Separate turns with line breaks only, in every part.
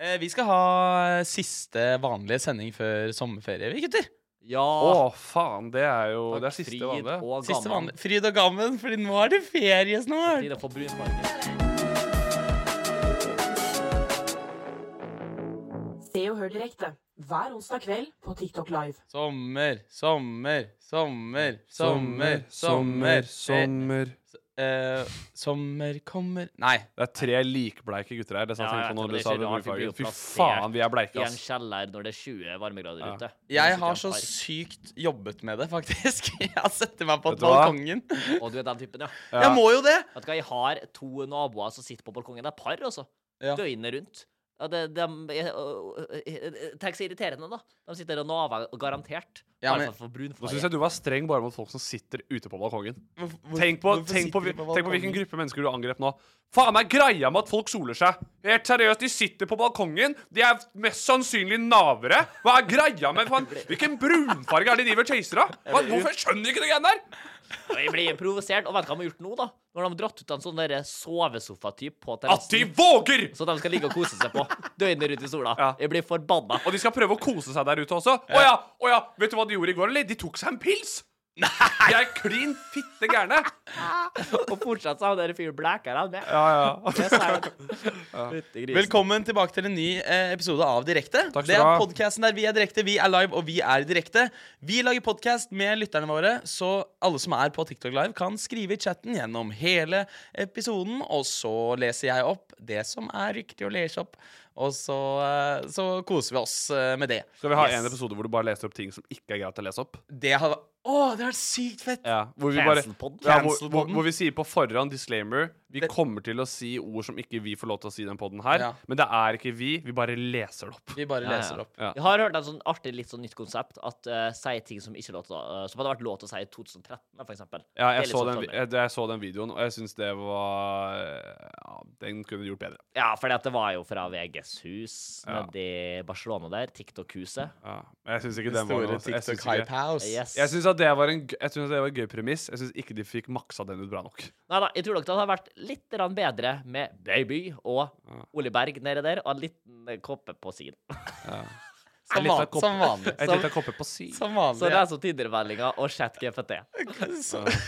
Eh, Vi skal ha siste vanlige sending før sommerferie, vi gutter.
Ja.
Å, faen, det er jo Det er siste vanlige.
Og
Siste
gammel.
vanlige. Fryd og gammen, Fordi nå er det ferie snart.
Tid å få brunsmaking.
Se og hør direkte hver onsdag kveld på TikTok Live.
Sommer, sommer, sommer,
Sommer,
sommer,
sommer,
sommer.
sommer.
Eh, eh, sommer kommer Nei.
Det er tre likbleike gutter her. Det satt
Ja,
jeg
jeg
tenkte på
tror
når du
det
sa
skjer,
det
han fikk bli
ordfaget. Fy
plassert
faen, vi er bleike,
I en
ass.
kjeller når det er 20 varmegrader ute.
Jeg har så
sykt
sykt jobbet med det, faktisk. Jeg setter meg på
Vet du hva?
balkongen.
Og du er den typen, ja.
Jeg må jo det!
Vet du hva, jeg har to naboer som sitter på balkongen. Det er par, altså.
Ja.
Døgnet rundt. Ja, det, de, jeg- øh, øh, tenk så irriterende, da. De sitter og naver garantert.
Ja,
Bare
men-
for å få
Nå
brunfarge.
syns jeg du var streng bare mot folk som sitter ute på balkongen.
Hvorfor- hvorfor-
Tenk på,
hvorfor
tenk, på,
sitter du
tenk på hvilken
balkongen?
gruppe mennesker du angrep nå. Faen meg greia med at folk soler seg. Helt seriøst, De sitter på balkongen. De er mest sannsynlig navere. Hva er greia med faen? Hvilken brunfarge er det de driver og chaser av? Hva- Hvorfor jeg skjønner ikke det greiene der?
Og Jeg blir provosert. Og vet du hva de har gjort nå, da? Nå har de dratt ut en sånn derre sovesofa-type på
At de
terrassen.
våger!
Så de skal ligge og kose seg på døgnet rundt i sola.
Ja.
Jeg blir forbanna.
Og de skal prøve å kose seg der ute også. Å ja, å ja. Vet du hva de gjorde i går, eller? De tok seg en pils! Nei! De er klin fitte gærne.
Og fortsatt så har den fyren blæker han med.
Ja, ja.
Jeg sier det. Fytti grisen.
Velkommen tilbake til en ny eh, episode av Direkte.
Takk skal
det
du
er
ha.
podkasten der vi er direkte, vi er live og vi er direkte. Vi lager podkast med lytterne våre, så alle som er på TikTok Live, kan skrive i chatten gjennom hele episoden, og så leser jeg opp det som er riktig å lese opp, og så, eh, så koser vi oss eh, med det.
Skal vi ha
Yes.
en episode hvor du bare leser opp ting som ikke er greit å lese opp?
Det har Å, det har vært sykt fett!
Ja, hvor vi bare
Cancel-podden.
ja, hvor, hvor,
Cancel-podden.
hvor vi sier på forhånd disclaimer Vi
Det-
kommer til å si ord som ikke vi får lov til å si i den podden her.
Ja.
Men det er ikke vi. Vi bare leser det opp.
Vi bare
Ja, ja.
leser opp.
Ja.
Jeg har hørt en sånn artig, litt sånn nytt konsept. At uh, si ting som ikke låter, eh, som hadde vært lov til å si i 2013, da, for eksempel.
Ja,
Det
jeg,
er litt
så
sånn
den, vi-
trønder.
jeg, jeg så den videoen, og jeg syns det var ja, Den kunne du gjort bedre.
Ja, for det var jo fra VGs hus
Ja.
nedi Barcelona der. TikTok-huset.
Ja. Men Jeg syns ikke
Det
den var
store
noe Jeg
TikTok
syns ikke-
Hype House.
Yes.
jeg syns at det var en g- Jeg synes det var en gøy premiss. Jeg syns ikke de fikk maksa den ut bra nok.
Nei da, jeg tror nok det hadde vært litt grann bedre med Baby og Ole Berg nede der, og en liten eh, koppe på siden.
Som,
litt av
van,
kopp-
som vanlig.
Jeg tenkte jeg kopper på si.
Som
Så
vanlig.
det er som Tinder-meldinga og ChatGPT.
Så-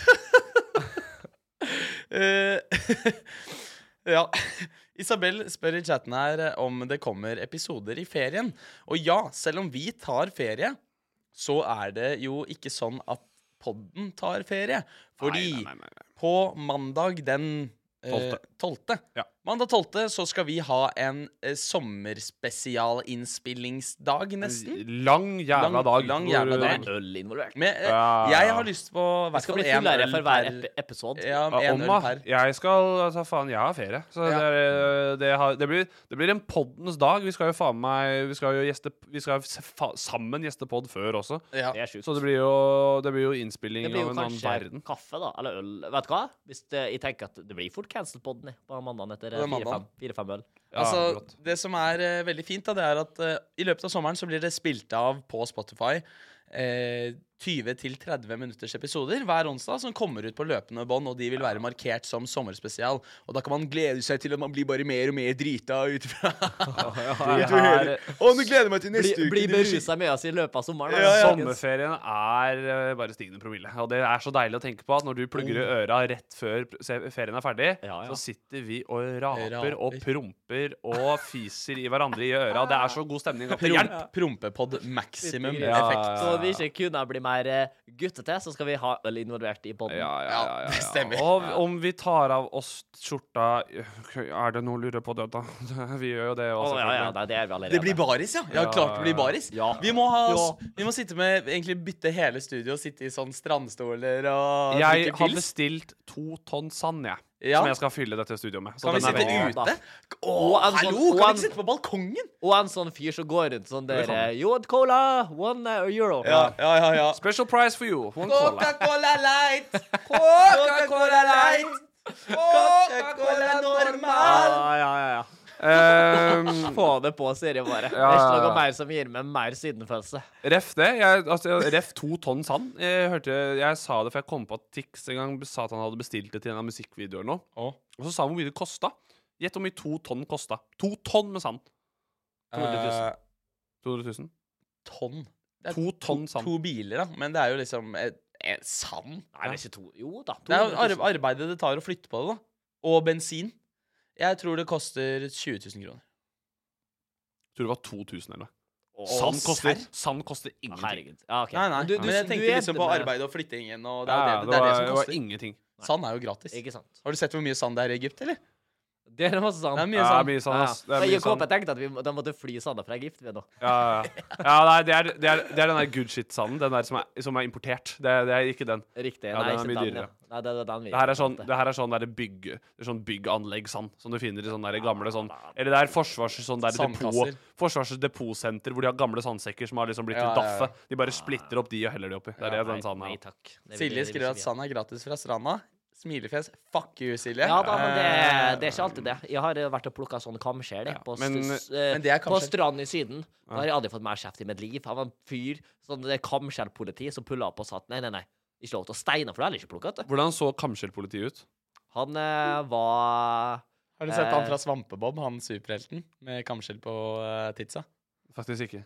Eh, ja. Isabel spør i chatten her eh, om det kommer episoder i ferien. Og ja, selv om vi tar ferie, så er det jo ikke sånn at podden tar ferie. Fordi
Nei, nei, nei, nei.
på mandag den eh,
Tolvte.
tolvte.
Ja.
Mandag 12. så skal vi ha en eh, sommerspesialinnspillingsdag, nesten.
Mm. Lang jævla
Lang-
dag.
lang
hvor-
jævla
Det
dag.
er en øl involvert.
Med, eh,
Ja.
Jeg har lyst på i
Det
hvert
skal
fall
bli
en
fullere
øl
for hver
per-
ep episode.
Ja,
Ja,
en
om,
øl
da.
per.
Jeg skal altså, faen, jeg har ferie. Så
Ja.
det, er, eh, det, har, det, blir, det blir en poddens dag. Vi skal jo faen meg Vi skal jo gjeste Vi skal s- fa sammen gjeste podd før også.
Ja.
Det er sjukt.
Så det blir jo, det blir jo innspilling
Det blir
av
jo
en annen
kanskje
verden.
kaffe, da. Eller øl. Vet du hva? Hvis det, jeg tenker at det blir fort cancelled på den jeg, på mandagen etter eh,
på den mandagen.
fire-fem fire-fem øl.
Ja,
altså,
rått.
det som er eh, veldig fint, da, det er at eh, i løpet av sommeren så blir det spilt av på Spotify eh, 20-30 minutters episoder hver onsdag som kommer ut på løpende bånd, og de vil være markert som sommerspesial. Og da kan man glede seg til at man blir bare mer og mer drita ut fra
Det
ut fra
her-
hele- Å, nå gleder jeg meg til
Bli,
neste uke!
bli
det blir skikkelig-
berusa med oss i løpet av sommeren. da,
Ja, ja.
folkens.
Eh, Sommerferien er eh, bare stigende promille. Og det er så deilig å tenke på at når du plugger i øra rett før pr- se- ferien er ferdig,
Ja, ja.
så sitter vi og raper
Raper.
og promper og fiser i hverandre i øra. Det er så god stemning. at det
Promp,
hjelper.
prompepod maximum
Ja,
effekt.
Så vi ikke kunne bli mer eh, guttete, så skal vi ha øl involvert i bånden.
Ja, ja, ja,
Ja,
ja,
det
ja.
stemmer.
Og om vi tar av oss skjorta Er det noe å lure på, det, da? Vi gjør jo det
Å,
også.
ja, ja,
selvfølgelig.
nei, det er vi allerede.
Det blir baris, ja. Ja, klart det blir baris.
Ja.
Vi må, ha,
Ja.
vi må sitte med, egentlig bytte hele studio og sitte i sånn strandstoler og
Jeg
drikke
har
pils.
bestilt to tonn sand, jeg.
Ja.
Som jeg skal fylle dette studioet med. Så
Kan vi
den er
sitte
veldig-
veldig bra.
ute? Å,
Og en sånn-
hallo!
og
Kan vi
en-
ikke sitte på balkongen?
Og en sånn fyr som går rundt sånn der
kan
eh, Jod cola, one eh, euro.
Ja, ja, ja. ja.
Special prize for you. One cola.
Coca-Cola Light! Coca-Cola Light! Coca-Cola
Ja,
Normal!
Ah, ja, ja, ja.
Ehm,
Få det på, sier jeg bare. Det er
ja,
ikke
ja.
noe mer som gir meg mer sydenfølelse.
Ref det. Jeg, altså, ref to tonn sand. Jeg, hørte, jeg sa det, for jeg kom på at Tix en gang sa at han hadde bestilt det til en av musikkvideoene. eller noe.
Å.
Og så sa han hvor mye det kosta. Gjett hvor mye to tonn kosta. To tonn med sand. 200 000. 200 000.
eh, Tonn. Det er
To tonn sand.
To biler, da. Men det er jo liksom eh, eh, sand.
Nei, det er ikke to Jo da.
Det er jo
200
ar
000.
arbeidet det tar å flytte på det, da. Og bensin. Jeg tror det koster 20 000 kroner.
Tror det var 2000 eller noe.
Å,
Sand koster,
serr?
sand koster ingenting.
Herregud. Ja, ok.
Nei, nei.
Men du- du-
men jeg
du
tenkte
er
liksom på
med-
arbeid og flyttingen, og det er
Ja,
jo det, det, er det som
var
koster.
ingenting.
Sand er jo gratis.
Ikke sant.
Har du sett hvor mye sand det er i Egypt, eller?
Det er masse sand.
Det sånn- er mye
Ja,
sand.
det er mye sand, ass.
Ja,
Det er
ja.
mye
Jeg og
sand.
Kåpe tenkte at vi må- de måtte fly sanda fra Egypt. Vi nå.
Ja, ja, ja. ja nei, det, er, det, er, det er den der good shit-sanden. Den der som er, som er importert. Det, er- det er ikke den.
Riktig.
Ja,
nei,
den er
ikke
mye
den, ja.
dyrere.
Nei, det, det, er den vi
Det her er sånn, det her er sånn, derre bygg, det er sånn bygganlegg-sand som du finner i sånne der gamle sånn Eller det er forsvars, sånn der depot,
Sandkasser.
Forsvarets depotsenter hvor de har gamle sandsekker som har liksom blitt
Ja,
til
ja, ja.
daffe. De bare splitter opp de og heller de oppi. Det er det
nei,
den sanden
nei,
er.
takk. Det vil-
Silje
det vil
skriver
ikke
at
vi ha.
sand er gratis fra stranda. Smilefjes. Fuck you, Silje.
Ja da, men det,
Eh,
det er ikke alltid det. Jeg har eh, vært og plukka sånn kamskjell jeg, på,
men-
s- eh,
Men det er
på
kamskjell.
stranden i Syden. Da har jeg aldri fått mer kjeft i mitt liv. Han var en fyr sånn det er kamskjellpoliti som pulla opp og sa at nei, nei, nei. Ikke lov til å steine, for det har jeg ikke plukka. vet du.
Hvordan så kamskjellpolitiet ut?
Han eh, var
Har du sett han
Eh.
fra Svampebob, han superhelten med kamskjell på eh, titsa?
Faktisk ikke.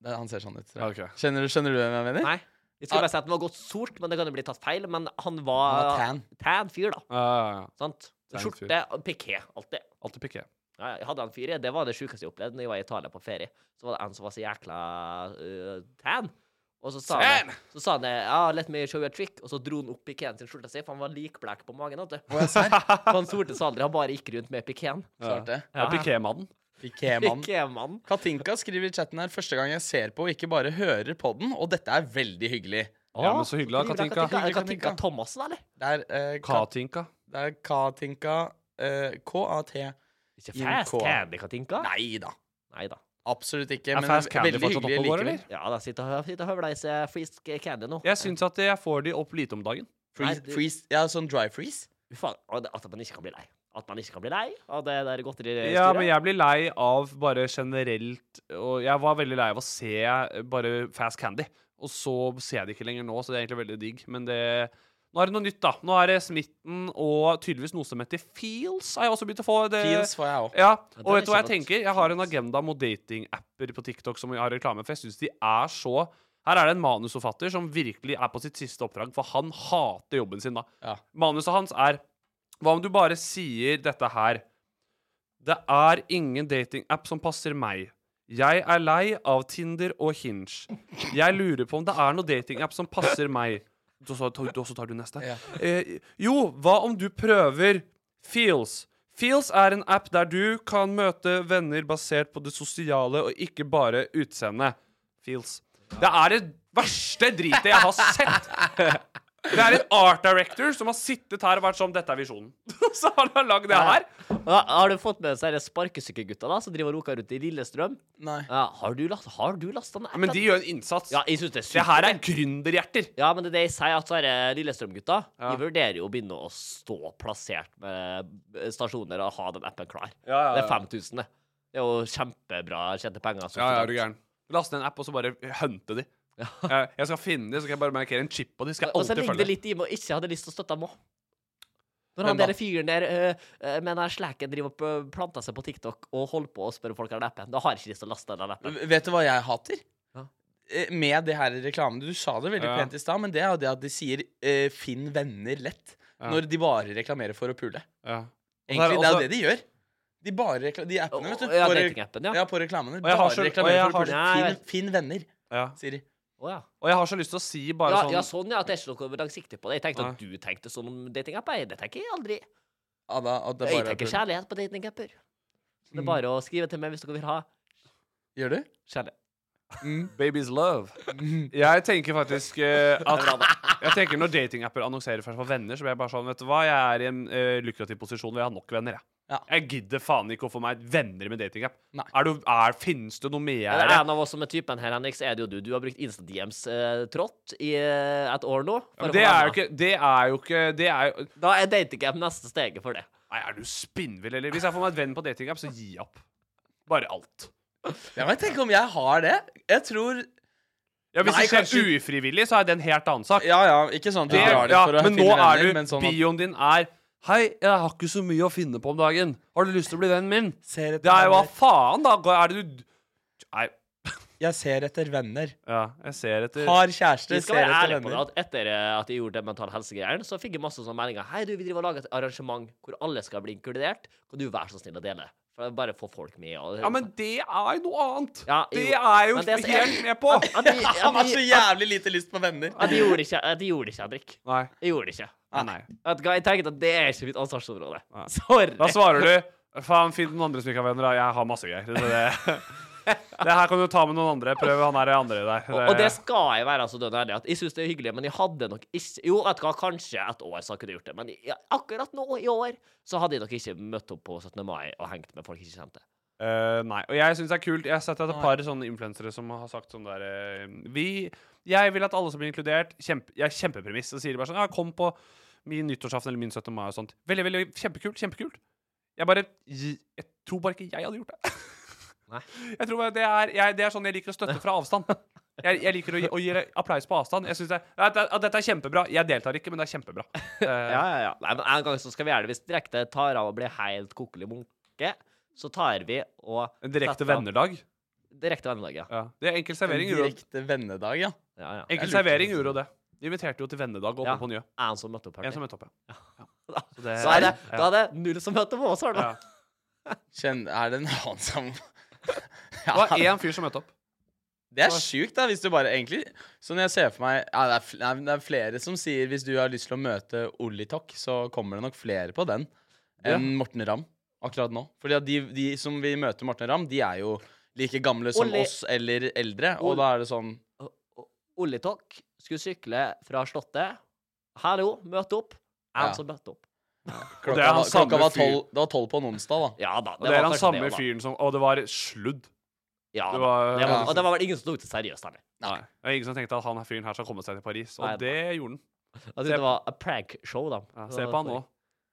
Det, han ser sånn ut. Tror jeg.
Ok.
Skjønner, du, skjønner du hvem jeg mener?
Nei. Jeg skulle bare si at han var godt sort, men det kan jo bli tatt feil. Men han var,
Han var tan.
tan fyr, da.
Ja, ja, ja.
Sant?
Tan fyr.
Skjorte og piké, alltid.
Alltid piké.
Ja, ja, jeg hadde en fyr, det var det sjukeste jeg opplevde Når jeg var i Italia på ferie. Så var det en som var så jækla eh, tan. Og så sa, han,
Tan!
så sa han ah, 'let me show you a trick', og så dro han opp pikéen sin skjorta si, for han var likblek på magen. vet du. For han sorte seg aldri, han bare gikk rundt med pikéen.
Sånn Klart det.
Ja, Piké-mannen.
Pikémann.
Pikémann.
Katinka skriver i chatten her første gang jeg ser på og ikke bare hører på den, og dette er veldig hyggelig.
Ja, men så hyggelig, da,
Katinka.
Katinka.
Katinka,
Hyggelig, Katinka.
Katinka Thomassen, eller?
Det er, eh, Kat
Katinka.
det er Katinka eh, K-A-T
Ikke
Jim
Fast
K.
Candy Katinka?
Nei da.
Nei da.
Absolutt ikke.
Er
Men
Fast Candy
veldig
fortsatt
hyggelig
oppe og går,
likevel.
eller?
Ja da, sitt og, hø- sitt og høvla i seg frisk candy nå.
Jeg syns at jeg får de opp lite om dagen.
Nei,
Freeze,
du-
freeze, ja, sånn dry freeze.
Fy faen, og det- At man ikke kan bli lei. At man ikke kan bli lei av det der godteristyret.
Ja, men jeg blir lei av bare generelt Og jeg var veldig lei av å se eh, bare Fast Candy. Og så ser jeg det ikke lenger nå, så det er egentlig veldig digg. Men det Nå er det noe nytt, da. Nå er det smitten og tydeligvis noe som heter feels. Har jeg også begynt å få det
Feels får jeg òg.
Ja,
det er
og vet du hva jeg
kjempe-
tenker? Jeg har en agenda mot datingapper på TikTok som jeg har reklame for. Jeg syns de er så Her er det en manusforfatter som virkelig er på sitt siste oppdrag, for han hater jobben sin da.
Ja.
Manuset hans er Hva om du bare sier dette her? Det er ingen datingapp som passer meg. Jeg er lei av Tinder og Hinge. Jeg lurer på om det er noen datingapp som passer meg. Og så tar, og så tar du neste.
Ja.
Eh, jo, hva om du prøver Feels? Feels er en app der du kan møte venner basert på det sosiale og ikke bare utseendet. Feels. Det er det verste dritet jeg har sett. Det er en art director som har sittet her og vært sånn Dette er visjonen. Så har han lagd det her.
Ja, Har du fått med deg sparkesykkelgutta da, som driver og roker rundt i Lillestrøm?
Nei.
Ja, har du lasta Har du lasta den?
Men de gjør en innsats.
Ja, jeg synes det er
Det
sykt.
her er gründerhjerter.
Ja, men det er det jeg sier, at så er det Lillestrøm-gutta. De vurderer jo å begynne å stå plassert med eh, stasjoner og ha den appen klar.
Ja, ja,
Det
ja.
er 5000, det. Det er jo kjempebra tjente penger. så
Ja, ja,
klart.
er du gæren. Last ned en app, og så bare hunte de. Eh, Jeg skal finne de, så skal jeg bare markere en chip på de. Skal jeg
Og så
alltid
ligger det
følge.
litt i meg å ikke hadde lyst til å støtte dem òg. Når han
Hvem da?
der fyren der øh, øh, med den slæken driver og øh, planter seg på TikTok og holder på å spørre folk om den appen, da har jeg ikke lyst til å laste den appen.
Vet du hva jeg hater?
Ja.
Eh, Med det her reklamen Du sa det veldig
Ja.
pent i stad, men det er jo det at de sier eh, 'finn venner lett' når de bare reklamerer for å pule.
Ja. Og så er
Egentlig,
det
det er
også-
jo det de gjør. De bare rekla de appene, vet du.
Ja,
på re-
datingappen, ja.
ja, på reklamene.
jeg har
Bare
så- og
reklamerer
jeg
for å pule.
har-
Finn, finn venner,
Ja.
sier de.
Å, ja.
Og jeg har så lyst til å si bare
Ja,
sånn
ja, sånn ja, at det er ikke noe langsiktig på det. Jeg tenkte
Nei.
at du tenkte sånn om datingapper. Jeg- Det tenker jeg aldri.
Ja, da, at det
Jeg
bare er
tenker
pul.
kjærlighet på datingapper. Så Det er bare å skrive til meg hvis dere vil ha
Gjør du?
kjærlighet.
Baby's love. Jeg tenker faktisk eh, at Jeg tenker Når datingapper annonserer først for venner, så blir jeg bare sånn Vet du hva, jeg er i en eh, lukrativ posisjon hvor jeg har nok venner, jeg.
Ja.
Jeg gidder faen ikke å få meg venner med datingapp.
Nei.
Er du- er- Finnes det noe
Ja, det er
mer?
en av oss som er typen her, Henrik, så er det jo du. Du har brukt Insta DMs eh, trått i eh, et år nå. for å
Det
få
er jo
venner.
ikke Det er jo ikke Det er jo
Da er datingapp neste steget for det.
Nei, er du spinnvill, eller? Hvis jeg får meg en venn på datingapp, så gi opp. Bare alt.
Ja, men tenk om jeg har det? Jeg tror
Ja, Hvis
Nei,
det skjer
kanskje-
ufrivillig, så er det en helt annen sak.
Ja ja, ikke sånn at du
Det,
drar dit
ja,
for å
men nå
finne
er
venner,
du
men sånn at
Bioen din er Hei, jeg har ikke så mye å finne på om dagen. Har du lyst til å bli vennen min?
Ser etter
Det er jo hva
venner.
faen, da? Hva Er det du Nei.
Jeg ser etter venner.
Ja, jeg ser etter
Har kjæreste,
Vi skal
ser
være
etter
ærlige på det
venner.
at etter eh, at jeg gjorde det mental helse-greien, så fikk jeg masse sånne meldinger. Hei, du, vi driver og lager et arrangement hvor alle skal bli inkludert. Kan du være så snill å dele? For det er sånn. Bare få folk med. Og,
Ja, men det er jo noe annet.
Ja,
det
jo.
er jo
Men det er-
helt med på.
Ah,
At de,
Han har
at
så
de,
jævlig lite lyst på venner.
at de gjorde det ikke, at de gjorde det ikke, Henrik.
Nei.
Jeg gjorde det ikke.
ah,
Nei, nei.
Vet du hva, jeg tenkte at det er ikke mitt ansvarsområde. Sorry.
Da svarer du Faen, finn noen andre som ikke har venner. da. Jeg har masse greier. Så det, det her kan du ta med noen andre. Prøv han her andre der.
Og, og det skal jeg være så dønn ærlig at jeg syns det er hyggelig, men jeg hadde nok ikke Jo, vet du hva, kanskje et år så kunne jeg gjort det, men jeg, akkurat nå, i år, så hadde jeg nok ikke møtt opp på 17. mai og hengt med folk jeg ikke kjente.
Eh, nei. Og jeg syns det er kult. Jeg har sett at et par sånne influensere som har sagt sånn der eh, Vi Jeg vil at alle som blir inkludert kjempe, Jeg er kjempepremiss. Så sier de bare sånn Ja, kom på min nyttårsaften eller min 17. mai og sånt. Veldig, veldig kjempekult. Kjempekult. Jeg bare gi- Jeg tror bare ikke jeg hadde gjort det.
Nei.
Jeg tror bare det er, jeg, det er sånn jeg liker å støtte fra avstand. Jeg, jeg liker å gi, å gi applaus på avstand. Jeg synes det, er- at, at Dette er kjempebra. Jeg deltar ikke, men det er kjempebra. Eh,
Ja, ja, ja. Nei, men en gang så skal vi gjøre det. Hvis direkte tar av og blir helt kokelig munke, så tar vi og
en direkte
setter av-
vennerdag.
Direkte vennelag, ja.
Ja. Det er enkel servering. Uro.
Direkte vennedag, ja.
ja, ja.
Enkel
Jeg lurte
servering
på det.
gjorde jo det. De inviterte jo til vennedag oppe
Ja.
på Njø.
En som møtte opp her.
En som møtte opp, ja.
Da-
Så det-
Så er det,
ja.
da er det null som møtte på oss, har du.
Ja.
Kjenn, er det en annen som
Det var én fyr som møtte opp.
Det er sjukt, da, hvis du bare egentlig Så når jeg ser for meg ja, det, er, fl- nei, det er flere som sier hvis du har lyst til å møte Olitok, så kommer det nok flere på den enn Morten Ramm akkurat nå. Fordi at de, de som vi møter Morten Ramm, de er jo like gamle som
Olli-
oss eller eldre,
Ol-
og da er det sånn
Olitok skulle sykle fra Slottet. Hallo, møt opp. En
Ja.
som møtte opp.
Og
Klokka,
det er han
var- klokka
samme
var
fyr.
tolv det var tolv på en onsdag, da.
Ja da.
Og det er
var
han
kanskje
samme
det, da.
fyren som Og det var sludd.
Ja,
Det
det
var-
var, det var,
ja.
Og det var vel ingen som tok det seriøst heller.
Nei. Det er ingen som tenkte at han her fyren her skal komme seg til Paris. Og
Nei,
det gjorde han.
Jeg trodde Altså, det var a prank show, da.
Ja, se på han nå.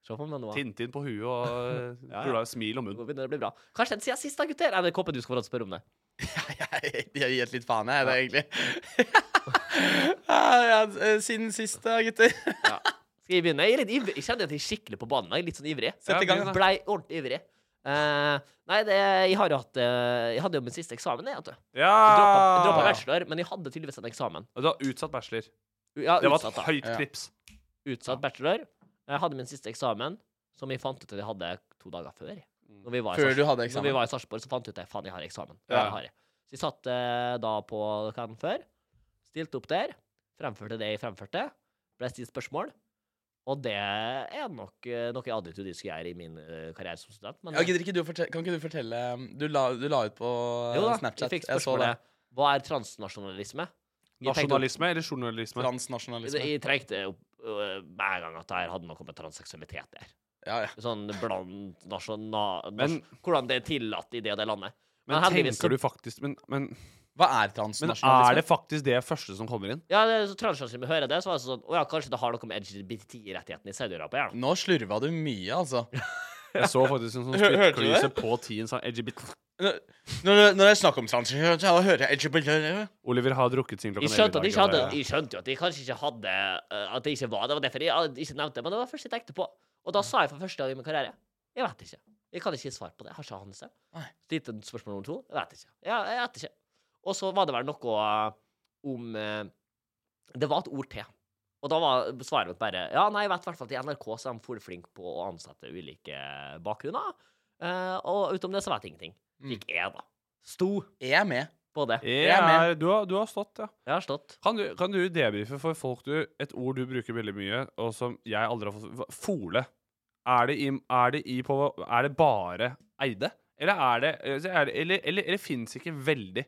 Se på han nå.
Tintin på huet og eh,
Ja, ja.
Burde ha smil om
Nå
munnen.
begynner det å bli bra. Kanskje den siden sist, da, gutter? Eller håper du skal få lov til å spørre om det.
Jeg har gitt litt faen, jeg, det, egentlig. ja, ja, siden sist, da, gutter.
Skal jeg begynne? Jeg er litt ivrig. Jeg kjenner at jeg er skikkelig på banen. Jeg er litt sånn ivrig.
Sett i gang, da.
Blei ordentlig ivrig. Eh, nei, det, jeg har jo hatt eh, Jeg hadde jo min siste eksamen, jeg, vet du.
Ah.
Droppa droppa
Ja!
bachelor, men jeg hadde tydeligvis en eksamen.
Og du har utsatt bachelor.
Ja,
Det var
utsatt,
et
da.
høyt
Ja.
knips.
Utsatt bachelor. Jeg hadde min siste eksamen, som jeg fant ut at jeg hadde to dager før. Når vi var i
Mm. Før
Sars-
du hadde
Når vi
eksamen.
var i Sarpsborg, så fant jeg ut at faen, jeg har eksamen.
Ja.
Det har jeg. Så jeg satt eh, da på kan før, stilte opp der, fremførte det jeg fremførte, ble stilt spørsmål. Og det er nok eh, noe jeg aldri trodde jeg skulle gjøre i min eh, karriere som student. Men
Ja, gidder ikke du å fortelle, kan ikke du fortelle um, Du la, du la ut på
Jo da,
Snapchat.
jeg fikk
jeg så det.
spørsmålet hva er transnasjonalisme? Jeg tenkte-
Nasjonalisme eller
Sånn.
journalisme?
Transnasjonalisme.
Jeg trengte opp øh, hver gang at det her hadde noe med transseksualitet der.
Ja, ja.
Sånn blant nasjonal...
Men-
hvordan det er tillatt i det det sånn- landet.
Men
heldigvis så-
tenker du faktisk Men, men,
Hva er
men er det
transnasjonalisme?
faktisk det første som kommer inn?
Ja, det- så Transjournalister hører det, så var det sånn Å ja, kanskje det har noe med LGBT-rettighetene i Saudi-Arabia å gjøre.
Nå slurva du mye, altså.
Jeg så faktisk en sånn
Hør- hørte du det?
splittklise på sånn tien sa LGBT.
Når, når når det er snakk om transnasjonalisme, så hører jeg LGBT.
Oliver har drukket sin
Jeg
klokken
skjønte, at de ikke hadde,
og det-
jeg skjønte jo at de kanskje ikke hadde øh, At det ikke var Det var derfor jeg øh, ikke nevnte det, men det var først jeg tenkte på. Og da sa jeg for første gang i min karriere Jeg vet ikke. Jeg kan ikke gi svar på det. Jeg har ikke anelse.
Nei.
Stilte spørsmål nummer to. Jeg vet ikke. Ja, jeg vet ikke. Og så var det vel noe øh, om øh, Det var et ord til. Og da var svaret mitt bare Ja, nei, jeg vet i hvert fall at i NRK så er de for flinke på å ansette ulike bakgrunner. Eh, og utom det så vet jeg ingenting. Fikk jeg, da. Sto
Er jeg med?
på det.
Jeg
Jeg er
er, du, har, du har stått, ja.
Jeg har stått.
Kan du, kan du debrife for folk du, et ord du bruker veldig mye, og som jeg aldri har fått hva- Fole. Er det, i, er det, i på, er det bare eide? Eller er det Eller, eller, eller, eller fins ikke veldig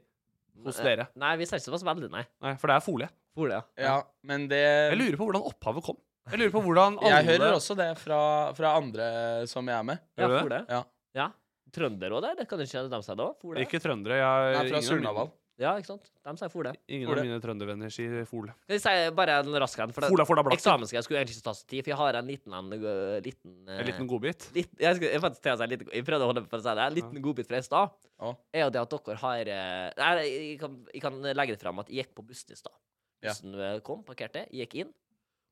hos dere?
Eh, Nei, vi ser ikke såpass veldig, nei.
Nei, for det er fole.
Hvor det?
Ja, men det
Jeg lurer på hvordan opphavet kom. Jeg lurer på hvordan alle
Jeg hører også det fra, fra andre som jeg er med.
Ja,
Gjør du det?
for det.
Ja.
ja. Trønder òg, der? Det kan du ikke de sier da? For det?
Ikke trøndere. Jeg,
Jeg er fra
ingen av mine-
Surnadal.
Ja, ikke sant? De sier for det.
Ingen
Fole.
av mine trøndervenner sier fole.
Skal jeg si bare en rask en? For det-
Fola, fola, blakk.
Eksamen skal jeg skulle egentlig ikke ta så tid, for jeg har en liten en øh, liten,
En liten godbit.
litt, jeg, skulle, jeg, faktisk, til å si en liten- jeg prøvde å holde på å si det. En liten godbit fra i stad
Ja.
er jo det at dere har eh, Nei, jeg kan, jeg kan legge det fram at jeg gikk på bussen i stad.
Ja.
Bussen eh, kom, parkerte, jeg gikk inn.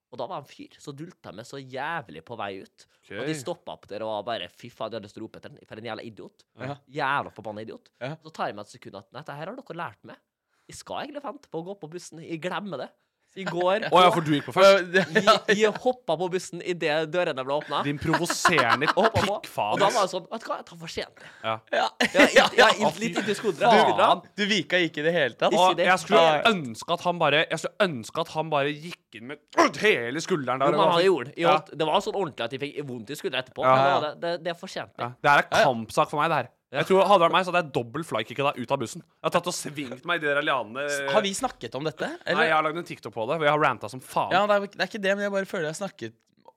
Og da var en fyr som dulta meg så jævlig på vei ut. Og de stoppa opp der og var bare Fy faen, de hadde lyst til å rope etter den. For en jævla idiot.
Ja.
Jævla forbanna idiot.
Ja.
Så tar jeg meg et sekund at Nei, dette her har dere lært meg. Jeg skal egentlig vente på å gå på bussen. Jeg glemmer det. Så jeg går
Å ja, for du gikk på først?
Ja,
jeg, jeg hoppa på bussen idet dørene ble åpna.
Din provoserende
Og hoppa på. Og
pikkfaen.
da var det
ass.
sånn Vet du hva, jeg tar for sent.
ja,
Ja,
ja,
litt-
ja.
ja, litt idiotisk
Faen.
hodebra.
Du vika ikke i det hele tatt.
Ikke
Og
det.
jeg skulle
Ja.
ønske at han bare Jeg skulle ønske at han bare gikk inn med hele skulderen der.
Jo, men han
ja.
gjorde det. Jeg holdt- Det var sånn ordentlig at jeg fikk vondt i skuldra etterpå.
Ja,
men
ja,
det, var det, det, det er for sent. det.
Det her er kampsak for meg, det her. Jeg tror Hadde det vært meg, så hadde jeg dobbelt flykicka deg ut av bussen. Jeg har tatt og svingt meg i de der lianene.
Har vi snakket om dette?
Nei, jeg
Eller?
har lagd en TikTok på det, hvor jeg har ranta som faen.
Ja, det er, det er ikke det, men jeg bare føler jeg har snakket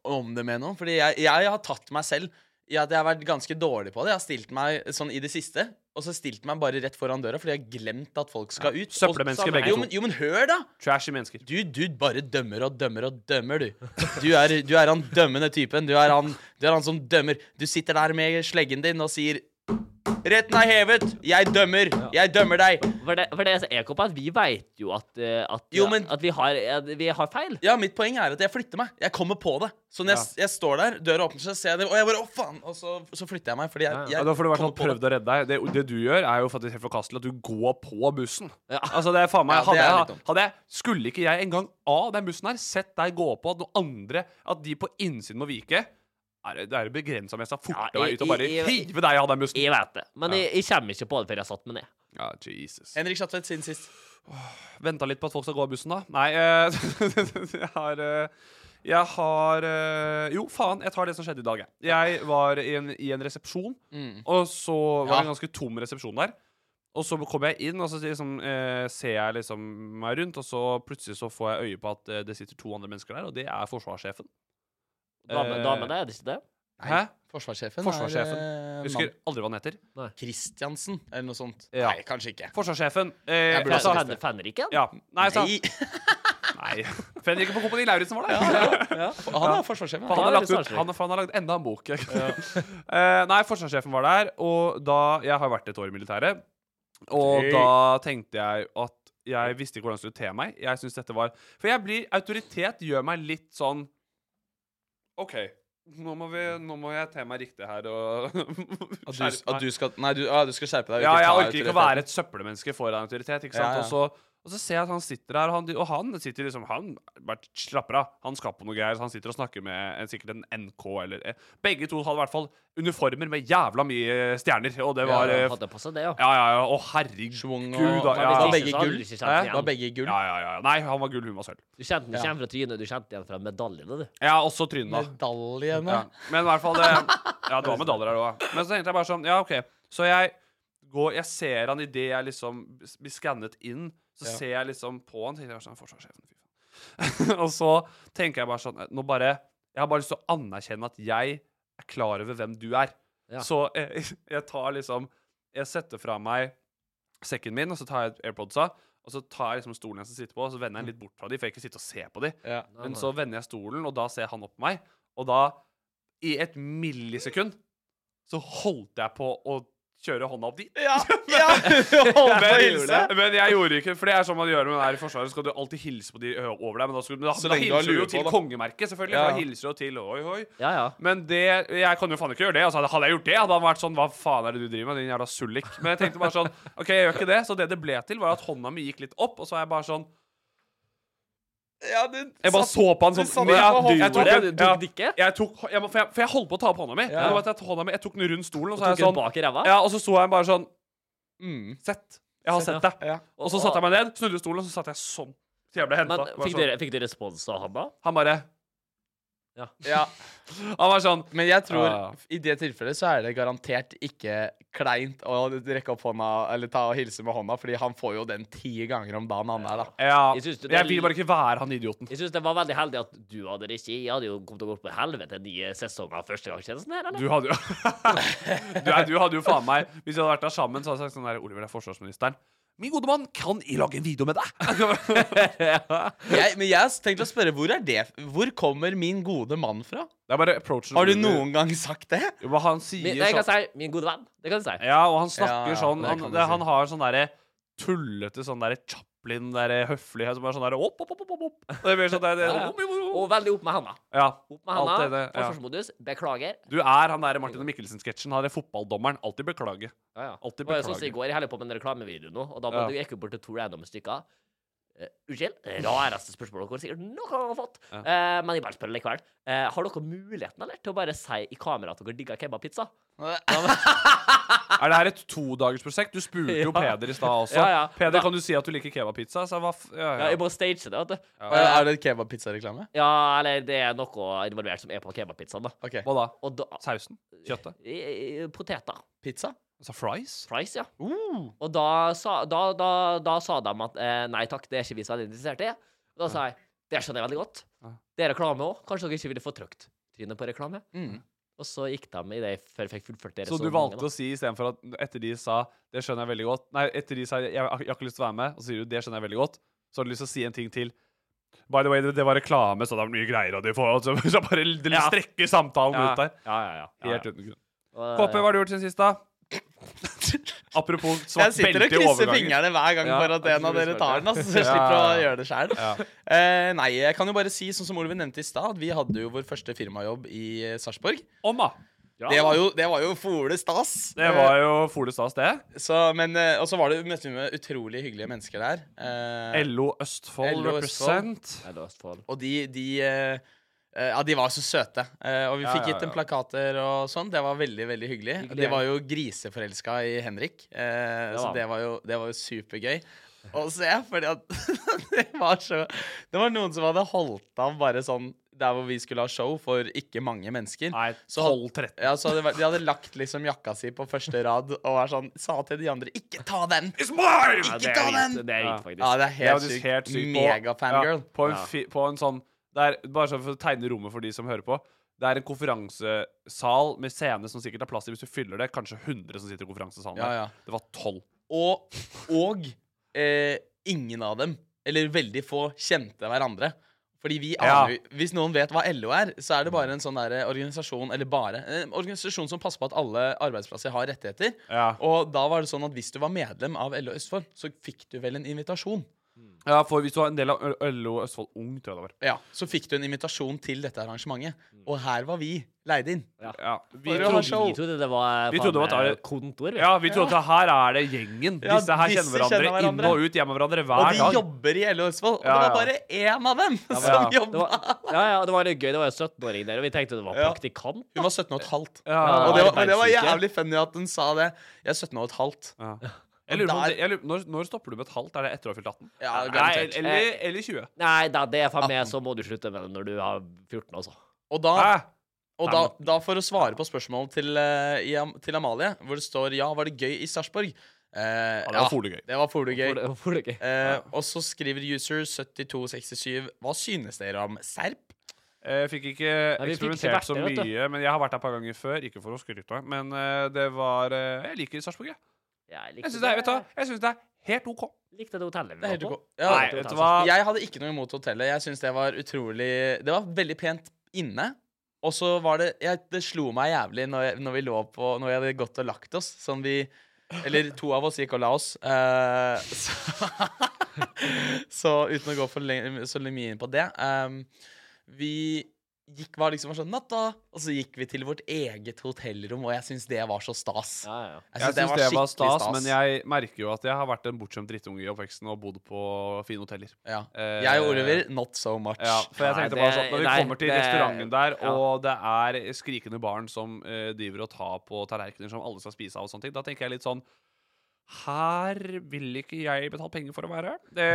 om det med noen. Fordi jeg, jeg har tatt meg selv i at jeg har vært ganske dårlig på det. Jeg har stilt meg sånn i det siste, og så stilt meg bare rett foran døra fordi jeg har glemt at folk skal ut. Og-
Søppelmennesker
Samme
begge
her.
Jo,
to.
men, jo, men hør, da!
Trashy mennesker.
Du, du bare dømmer og dømmer og dømmer, du. Du er, du er han dømmende typen. Du er han, du er han som dømmer. Du sitter der med sleggen din og sier Retten er hevet! Jeg dømmer! Jeg dømmer deg!
For det, for det som er kompakt, vi veit jo at, eh, at,
Jo, men-
at vi, har, at vi har feil.
Ja, mitt poeng er at jeg flytter meg. Jeg kommer på det. Så når jeg, jeg står der, døra åpner seg, ser jeg det, og jeg bare Å, faen! Og så, så flytter jeg meg, fordi jeg, jeg
Ja, da får du i hvert fall
kommer på
prøvd å redde deg. Det, det du gjør, er jo faktisk helt forkastelig. At du går på bussen.
Ja.
Altså, det er faen meg
Ja, det er
hadde,
litt
jeg,
dumt.
hadde jeg, Skulle ikke jeg engang av den bussen her sett deg gå på, at noen andre At de på innsiden må vike er det, det er begrensa om jeg skal forte
Ja,
meg ut og
i-
bare
i- i-
hive deg av den bussen.
Jeg vet det. Men
Ja.
jeg, jeg kommer ikke på det før jeg har satt meg ned.
Ja, Jesus.
Henrik Schatvedt siden sist.
Venta litt på at folk skal gå av bussen, da. Nei, eh, jeg har eh, Jeg har eh, Jo, faen, jeg tar det som skjedde i dag, jeg. Jeg var i en, i en resepsjon,
Mm.
og så
Ja.
var det en ganske tom resepsjon der. Og så kom jeg inn, og så liksom, eh, ser jeg liksom meg rundt, og så plutselig så får jeg øye på at eh, det sitter to andre mennesker der, og det er forsvarssjefen.
Dame,
Eh,
damene, er det ikke det?
Hæ?
Forsvarssjefen,
Forsvarssjefen.
er eh,
Husker
mann.
aldri hva han heter.
Kristiansen, eller noe sånt.
Ja.
Nei, kanskje ikke.
Forsvarssjefen. Eh,
Jeg burde
altså,
ha
Fan- Fenriken?
ja. Nei, sa
Nei,
Nei. Fenriken på Kompani Lauritzen var der.
han er forsvarssjefen.
Ja,
For han, har
det
lagt
er
ut,
litt
han, for han har lagd enda en bok. Eh, nei, forsvarssjefen var der, og da Jeg har vært et år i militæret. Og
Hey.
da tenkte jeg at jeg visste ikke hvordan jeg skulle te meg. Jeg synes dette var For jeg blir Autoritet gjør meg litt sånn OK, nå må, vi, nå må jeg te meg riktig her og
At du,
skjerpe meg.
at du skal Nei, du, ah, du skal skjerpe deg.
Ja, jeg
ta
orker ikke å
autoriteten.
være et søppelmenneske foran autoritet. ikke sant?
Ja, ja.
Og, så, og så ser jeg at han sitter der, og han, og han sitter liksom Han bare slapper av. Han skal på noe greier. Så han sitter og snakker med en, sikkert en NK eller eh, Begge to hadde i hvert fall uniformer med jævla mye stjerner, og det var
Ja,
eh,
han hadde på seg det, ja.
Ja, ja, ja. Å, herregud,
Schwung og-
da.
Men
Ja,
var
hvis ikke,
ja,
begge
så hadde
gull.
du ikke kjent den
Det
igjen.
var begge gull.
ja, ja. Nei, han var gull, hun var sølv.
Du kjente den
Ja.
ikke igjen fra trynet, du kjente den igjen fra medaljene, du.
Ja, også trynet, da.
Medaljene.
Ja. Men i hvert fall det, Ja, det var medaljer her òg. Men så tenkte jeg bare sånn Ja, OK. Så jeg går Jeg ser han idet jeg liksom blir skannet inn. Så
Ja.
ser jeg liksom på han, tenker jeg sånn Forsvarssjefen, fy faen. og så tenker jeg bare sånn Nå bare Jeg har bare lyst til å anerkjenne at jeg er klar over hvem du er.
Ja.
Så jeg, jeg tar liksom Jeg setter fra meg sekken min, og så tar jeg AirPodsa, og så tar jeg liksom stolen jeg skal sitte på, og så vender jeg litt bort fra dem, for jeg ikke sitter og ser på dem.
Ja.
Men så vender jeg stolen, og da ser han opp på meg. Og da, i et millisekund, så holdt jeg på å kjøre hånda opp dit.
Ja! ja. Hold på å
Men,
hilse.
men jeg gjorde ikke For det er sånn man gjør når man er i Forsvaret. Så skal du alltid hilse på de ø- over deg. Men da, skal, men da,
Så
men da
lenge du har
hilser du
lue
jo
på,
til
da.
kongemerket, selvfølgelig.
Ja.
For da hilser du jo til oi, oi.
Ja, ja.
Men det Jeg kan jo faen ikke gjøre det. Altså, hadde jeg gjort det, hadde han vært sånn Hva faen er det du driver med, din jævla sullik? Men jeg tenkte bare sånn OK, jeg gjør ikke det. Så det det ble til, var at hånda mi gikk litt opp, og så er jeg bare sånn
Ja, du
Jeg bare
satt-
så på han
du
sånn
satt på
men jeg-
hånden.
jeg tok
det?
en-
Du tok
ja,
det ikke?
Jeg tok, jeg, må- for, jeg, for jeg holdt på å ta på hånda mi.
Ja.
Jeg, vet, at hånda mi jeg tok den rundt stolen, og så, er
Tok
jeg
hun
sånn,
bak i ræva?
ja, og så så jeg bare sånn
Mm.
Sett. Jeg har
Sett,
sett deg.
ja.
Og så satte jeg meg ned, snudde stolen, og så satt jeg sånn. Til jeg ble
Men fikk
henta.
dere, fikk dere respons av han da?
sånn. Han bare
ja.
Han var sånn
Men jeg tror
Ah.
i det tilfellet så er det garantert ikke kleint å rekke opp hånda eller ta og hilse med hånda, fordi han får jo den ti ganger om dagen, han der, da.
Ja.
Jeg synes det er
Jeg vil
litt-
bare ikke være han idioten.
Jeg syns det var veldig heldig at du hadde det ikke. Jeg hadde jo kommet til å gå på helvete nye sesonger av Førstegangstjenesten sånn her, eller?
Du hadde jo du, er- du hadde jo faen meg Hvis vi hadde vært der sammen, så hadde jeg sagt sånn der Oliver er forsvarsministeren. Min gode mann, kan jeg lage en video med deg?
Jeg, men jeg har tenkt å spørre, hvor er det Hvor kommer min gode mann fra?
Det er bare approachen
Har du noen gang sagt det?
Jo, men Han sier
Min, nei, jeg
sånn
kan si min gode venn. Det kan jeg si.
Ja, og han snakker
Ja,
sånn
det
han,
kan du
det,
si.
han har sånn derre tullete sånn derre Chaplin, derre høflighet som er sånn derre opp, opp, opp, opp, opp. Det blir sånn der, det,
Ja, ja.
opp, opp, opp,
Og
opp.
veldig opp med handa.
Ja.
Opp med
Alt
handa.
det der, ja.
Forsvarsmodus. Beklager.
Du er han derre Martin og Mikkelsen-sketsjen. Han derre fotballdommeren. Alltid beklage.
Ja, ja.
Alltid
Og jeg sånn som i
beklager.
går, jeg holder på med en reklamevideo nå, og da
Ja.
måtte jeg gikk jo bort til to random stykker. Eh, Unnskyld, rareste spørsmål dere sikkert noen gang har fått,
Ja.
Eh, men jeg bare spør likevel. Eh, har dere muligheten eller, til å bare si i kamera at dere digger kebabpizza?
Er det her et todagersprosjekt? Du spurte jo
Ja.
Peder i stad også.
Ja, ja.
Peder,
Da-
kan du si at du liker kebabpizza? Så jeg var f ja,
Ja, jeg
ja.
må stage det, vet du.
Og Er det kebabpizzareklame?
Ja, eller det er noe involvert som er på kebabpizzaen, da.
OK.
Hva da?
Og da
Sausen? Kjøttet?
eh, Poteter.
Pizza?
Altså fries?
Fries, ja.
Uh.
Og da sa, da, da, da sa de at eh, nei takk, det er ikke vi så veldig interessert i. Og da sa jeg det skjønner jeg veldig godt.
Ja.
Det er reklame òg. Kanskje dere ikke ville få trykt trynet på reklame.
Mm.
Og så gikk de i det før jeg fikk fullført det
Så du valgte å si istedenfor at etter de sa 'det skjønner jeg veldig godt' Nei, etter de sa 'jeg, jeg har ikke lyst til å være med', og så sier du 'det skjønner jeg veldig godt', så har du lyst til å si en ting til. By the way, det, det var reklame, så det er mye greier, og de får altså, så bare l-
Ja.
strekker samtalen
Ja.
ut der.
Ja, ja, ja.
Helt uten grunn.
Og,
Kåpe, hva har du gjort siden sist, da? Apropos
Jeg
svart
sitter
belte
og
i
krysser
overgangen.
fingrene hver gang
Ja,
for at
jeg
en av
tror det
dere
smaker.
tar den. Altså, så jeg
Ja.
slipper å gjøre det sjøl.
Ja.
nei, jeg kan jo bare si, sånn som Oliver nevnte i stad, at vi hadde jo vår første firmajobb i eh, Sarpsborg.
Om, da.
ja.
Det var jo, det var jo fole stas.
Det var jo fole stas, det.
Så, men, eh, og så var det, møtte vi med utrolig hyggelige mennesker der. Eh,
LO Østfold
LO Østfold.
represent.
Jeg lå Østfold.
og de, de eh, eh, ja, de var så søte. Eh, og vi
Ja,
fikk
ja,
gitt dem
ja.
plakater og sånn. Det var veldig veldig hyggelig.
Hyggelig,
De
ja.
var jo griseforelska i Henrik, eh,
Det
så
var
det var, jo, det var jo supergøy å se. Fordi at det var så Det var noen som hadde holdt av bare sånn der hvor vi skulle ha show for ikke mange mennesker.
Nei,
Så had-
12-13.
Ja, så hadde, vært- de hadde lagt liksom jakka si på første rad og var sånn, sa til de andre 'ikke ta den'!
It's mine!
Ja,
Ikke
det er
ta
gitt,
den!
det er
Ja.
gitt faktisk.
Ja, det er
Det er
helt
jo
sykt.
helt sykt. på-
Megafangirl.
Ja, på, en
Ja.
fi- på en sånn det er, Bare sånn for å tegne rommet for de som hører på. Det er en konferansesal med scene som sikkert er plass til hvis du fyller det. Kanskje 100 som sitter i konferansesalen.
Ja,
der.
ja.
Det var 12.
Og, og eh, ingen av dem, eller veldig få, kjente hverandre. Fordi vi
Ja.
aner, jo- Hvis noen vet hva LO er, så er det bare en sånn der organisasjon Eller bare en organisasjon som passer på at alle arbeidsplasser har rettigheter.
Ja.
Og da var det sånn at hvis du var medlem av LO Østfold, så fikk du vel en invitasjon.
ja, for hvis du var en del av Ø- LO Østfold Ung, tror jeg det var.
Ja, Så fikk du en invitasjon til dette arrangementet. Og her var vi leid inn.
Ja, vi
For å ha
trodde,
show.
Vi trodde det var,
Vi trodde det var
faen,
et-
eh, kontor. vi.
ja, vi trodde at her er det gjengen.
Ja,
disse her
disse
kjenner hverandre,
kjenner hverandre.
inn og ut, hjemme hverandre
Og
hver
de
dag.
jobber i LO Østfold. Og
Ja,
det
ja.
var bare én av dem
ja.
som
Det
jobba.
var, ja, ja, det var litt gøy. Det var en 17-åring der, og vi tenkte det var
Ja.
praktikant.
Hun var 17 og et halvt.
Ja,
Ja,
Og det var, men det var
arbeidsuke.
jævlig funny at hun sa det. Jeg er 17 og et halvt.
ja. Jeg lurer på om
Der-
det, jeg lurer, når, når stopper du med et halvt? Er det etter du har fylt 18?
Ja,
Nei,
garantert.
eller, eller 20.
Nei, da, det er for meg, så må du slutte med det når du har 14, altså.
Og, da,
Hæ?
og da, da for å svare på spørsmålet til, eh, i Am- til Amalie, hvor det står 'Ja, var det gøy i Sarpsborg', Eh,
det var folegøy.
Det var folegøy.
Hvorfor- Hvorfor det ikke?
Eh, og så skriver user 7267 Hva synes dere om Serp?
Eh, Jeg fikk ikke
Nei, vi fikk ikke
eksperimentert så
vært det, vet du.
mye, men jeg har vært der et par ganger før. Ikke for å skryte, men eh, det var eh, Jeg liker Sarpsborg, jeg.
Jeg
Jeg
likte
syns det, er- vet du hva, jeg synes det er helt OK.
Likte det hotellet
Det er
vi
helt
var på.
ok. Ja,
Nei, vet du hva?
Jeg hadde ikke noe imot hotellet. Jeg synes Det var utrolig Det var veldig pent inne. Og så var det jeg, Det slo meg jævlig når, jeg, når vi lå på Når vi hadde gått og lagt oss. Sånn vi Eller to av oss gikk og la oss. Eh, så, så uten å gå for lenge, så mye inn på det ehm, Vi gikk var liksom var sånn Natta! Og så gikk vi til vårt eget hotellrom, og jeg syns det var så stas.
Ja, ja.
Jeg syns det var
skikkelig
stas, men jeg merker jo at jeg har vært en bortskjemt drittunge i oppveksten og bodd på fine hoteller.
ja.
Eh,
Jeg og Oliver, not so much.
Ja, for jeg
Nei,
tenkte bare
det-
sånn Når vi
nei,
kommer til
det-
restauranten der,
ja.
og det er skrikende barn som eh, driver og tar på tallerkener som alle skal spise av, og sånne ting, da tenker jeg litt sånn her vil ikke jeg betale penger for å være. Det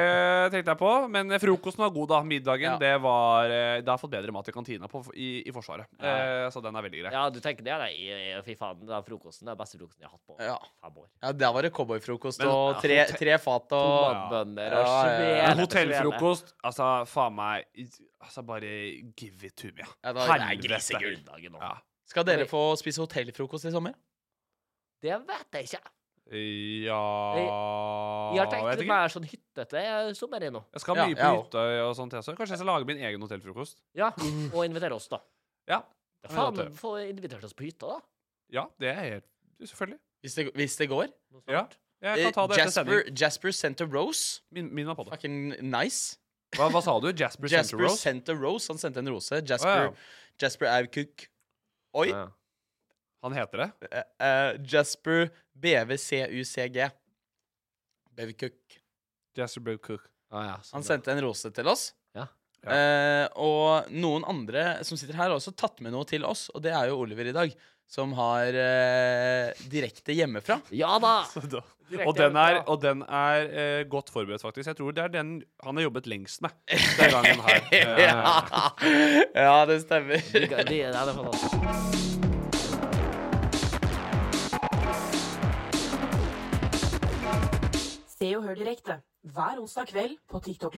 tenkte jeg på. Men frokosten var god, da. Middagen,
Ja.
det var eh, Det har jeg fått bedre mat i kantina på, i, i Forsvaret. Eh, så den er veldig grei.
ja, du tenker det? Nei, jeg- jeg- fy faen, den frokosten det er den beste frokosten jeg har hatt på
Ja.
fem år.
Ja, der var det cowboyfrokost
Men-
og tre, tre fat og
Tomatbønner og
Ja, ja, ja.
svele-
Hotellfrokost, altså faen meg Altså bare give it to me. ja.
Ja, det var- det er
Helvete.
svele- Grunnlaget nå.
Ja.
Skal dere få spise hotellfrokost i sommer?
Det vet jeg ikke.
Ja
Jeg har tenkt
vet
litt
ikke.
mer sånn hyttete sommer i nå.
Jeg skal
Ja,
mye på
jeg
hytta og sånt. jeg også. Kanskje jeg skal lage min egen hotellfrokost?
Ja, og invitere oss, da.
Ja.
Ja,
Ja,
Faen,
det-
få invitert oss på hytta, da.
ja, det er helt Selvfølgelig.
Hvis det, hvis det går.
Noe
Ja.
sånt.
Jeg kan ta det
Eh,
etter
Jasper,
sending.
Jasper Center Rose.
Min, min var på det.
Fucking nice.
Hva, hva sa du? Jasper, Center
Jasper
Rose?
Center Rose. Han sendte en rose. Jasper,
Wow.
Jasper Aukuk. Oi.
Ja.
Han heter det.
eh, eh, Jasper BVCUCG. Bevkuk.
Jasper Bro Cook.
Ah, ja, sånn,
Han
ja.
sendte en rose til oss.
Ja.
Ja.
Eh, og noen andre som sitter her, har også tatt med noe til oss, og det er jo Oliver i dag. Som har eh, direkte hjemmefra.
Ja da!
Så da-
Direkte
Og den er,
hjemmefra.
og den er eh, godt forberedt, faktisk. Jeg tror det er den han har jobbet lengst med. Den gangen her. Eh,
Ja, ja det stemmer.
De, de, ja, det er fantastisk.
Se og hør direkte hver onsdag kveld på TikTok.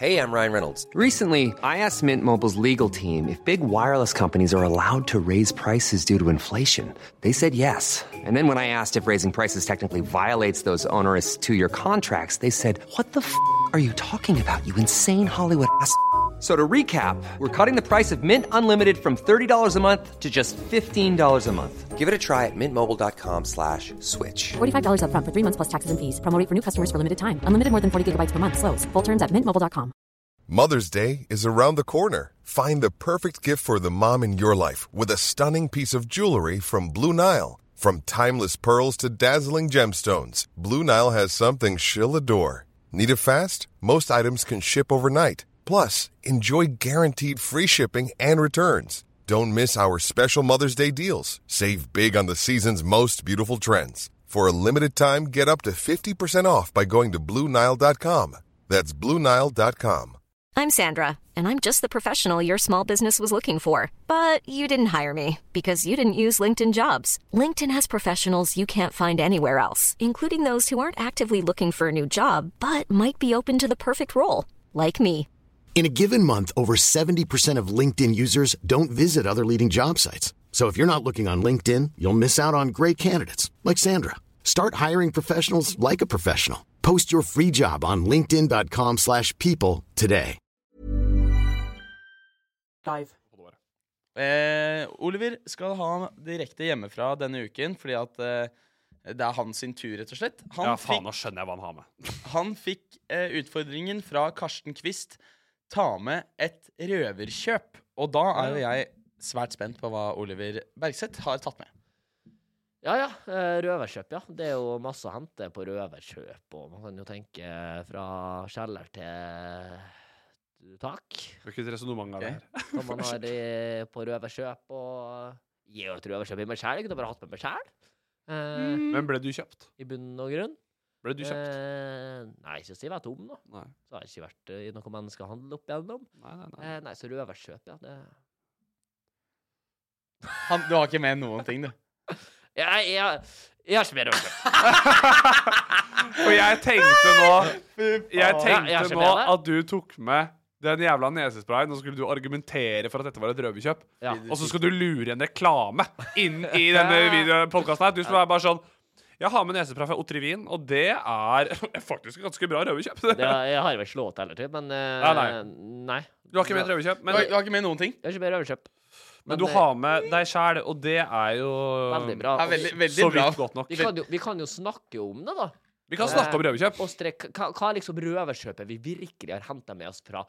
Hey, I'm Ryan Reynolds. Recently, I asked Mint Mobile's legal team if big wireless companies are allowed to raise prices due to inflation. They said yes. And then when I asked if raising prices technically violates those onerous two year contracts, they said, What the f are you talking about, you insane Hollywood ass? f- So to recap, we're cutting the price of Mint Unlimited from $30 a month to just $15 a month. Give it a try at mintmobile.com slash switch.
$45 upfront for three months plus taxes and fees. Promote for new customers for limited time. Unlimited more than 40 gigabytes per month. Slows. Full terms at mintmobile.com.
Mother's Day is around the corner. Find the perfect gift for the mom in your life with a stunning piece of jewelry from Blue Nile. From timeless pearls to dazzling gemstones, Blue Nile has something she'll adore. Need it fast? Most items can ship overnight. Plus, enjoy guaranteed free shipping and returns. Don't miss our special Mother's Day deals. Save big on the season's most beautiful trends. For a limited time, get up to 50% off by going to Blue Nile.com. That's Blue Nile.com.
I'm Sandra, and I'm just the professional your small business was looking for. But you didn't hire me because you didn't use LinkedIn jobs. LinkedIn has professionals you can't find anywhere else, including those who aren't actively looking for a new job but might be open to the perfect role, like me.
In a given month, over 70% of LinkedIn users don't visit other leading job sites. So if you're not looking on LinkedIn, you'll miss out on great candidates like Sandra. Start hiring professionals like a professional. Post your free job on linkedin.com/people slash people today.
Live.
Eh, Oliver skal ha direkte hjemmefra denne uken, fordi at eh, det er hans sin tur, rett og slett. Han
ja, faen, nå
fikk,
skjønner jeg hva han har med.
han fikk eh, utfordringen fra Karsten Kvist ta med et røverkjøp. Og da er jo jeg svært spent på hva Oliver Bergseth har tatt med.
Ja ja, eh, røverkjøp, ja. Det er jo masse å hente på røverkjøp, og man kan jo tenke fra kjeller til tak.
Hvilket resonnement er det her?
Som man har i, på røverkjøp og Gi jo et røverkjøp i meg sjæl, jeg kunne bare hatt med meg sjæl. Eh,
Men ble du kjøpt?
I bunn og grunn.
Ble Mm. du kjøpt?
Eh, nei, ikke siden jeg var tom, da.
Nei.
Så har jeg ikke vært eh, i noe menneskehandel opp igjennom.
Nei, nei, nei.
Eh, nei, så røverkjøp, ja. Det
Han, du har ikke med noen ting, du.
jeg, jeg, Jarpsberg Rocker.
Og jeg tenkte nå Jeg
Ja,
tenkte
jeg
nå
skjønner det.
at du tok med den jævla nesesprayen, og så skulle du argumentere for at dette var et røverkjøp.
Ja.
Og så skal du lure en reklame inn i denne podkasten her. Du som er bare sånn Jeg har med nesespray fra Otrivin, og det er faktisk et ganske bra røverkjøp.
Det har- Jeg har vel ikke lov til heller, til, men eh,
Ja, nei.
nei.
Du har ikke med et røverkjøp,
Du har, du
men,
har ikke med noen ting?
Jarpsberg Rocker.
men du har med deg sjæl, og det er jo
eh, Veldig bra.
Ja, veldig, veldig
så
bra.
vidt godt nok.
Vi kan, jo, vi kan jo snakke om det, da.
Vi kan snakke om røverkjøp.
Og strek, hva, hva er liksom røverkjøpet vi virkelig har henta med oss fra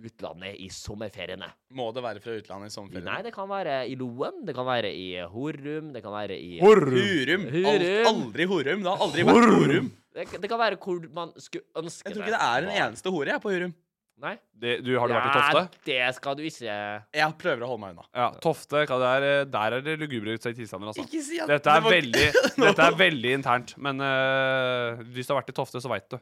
utlandet i sommerferiene?
Må det være fra utlandet i sånn
Nei,
sommerferien?
det kan være i Loen, det kan være i Horum, det kan være i
Hurum. Al
Hurum.
aldri Horum. Det har aldri vært Horum.
det, det kan være hvor man skulle ønske
Jeg tror ikke det er en eneste hore jeg på Hurum.
Nei?
Det, du, har du vært i Tofte?
Ja, det skal du ikke
Jeg prøver å holde meg unna.
Ja, Tofte, hva det er, eh, der er det lugubre tilstander, altså.
Ikke si at
Dette er,
det var-
veldig, dette er veldig internt, men øh, hvis du har vært i Tofte, så veit du.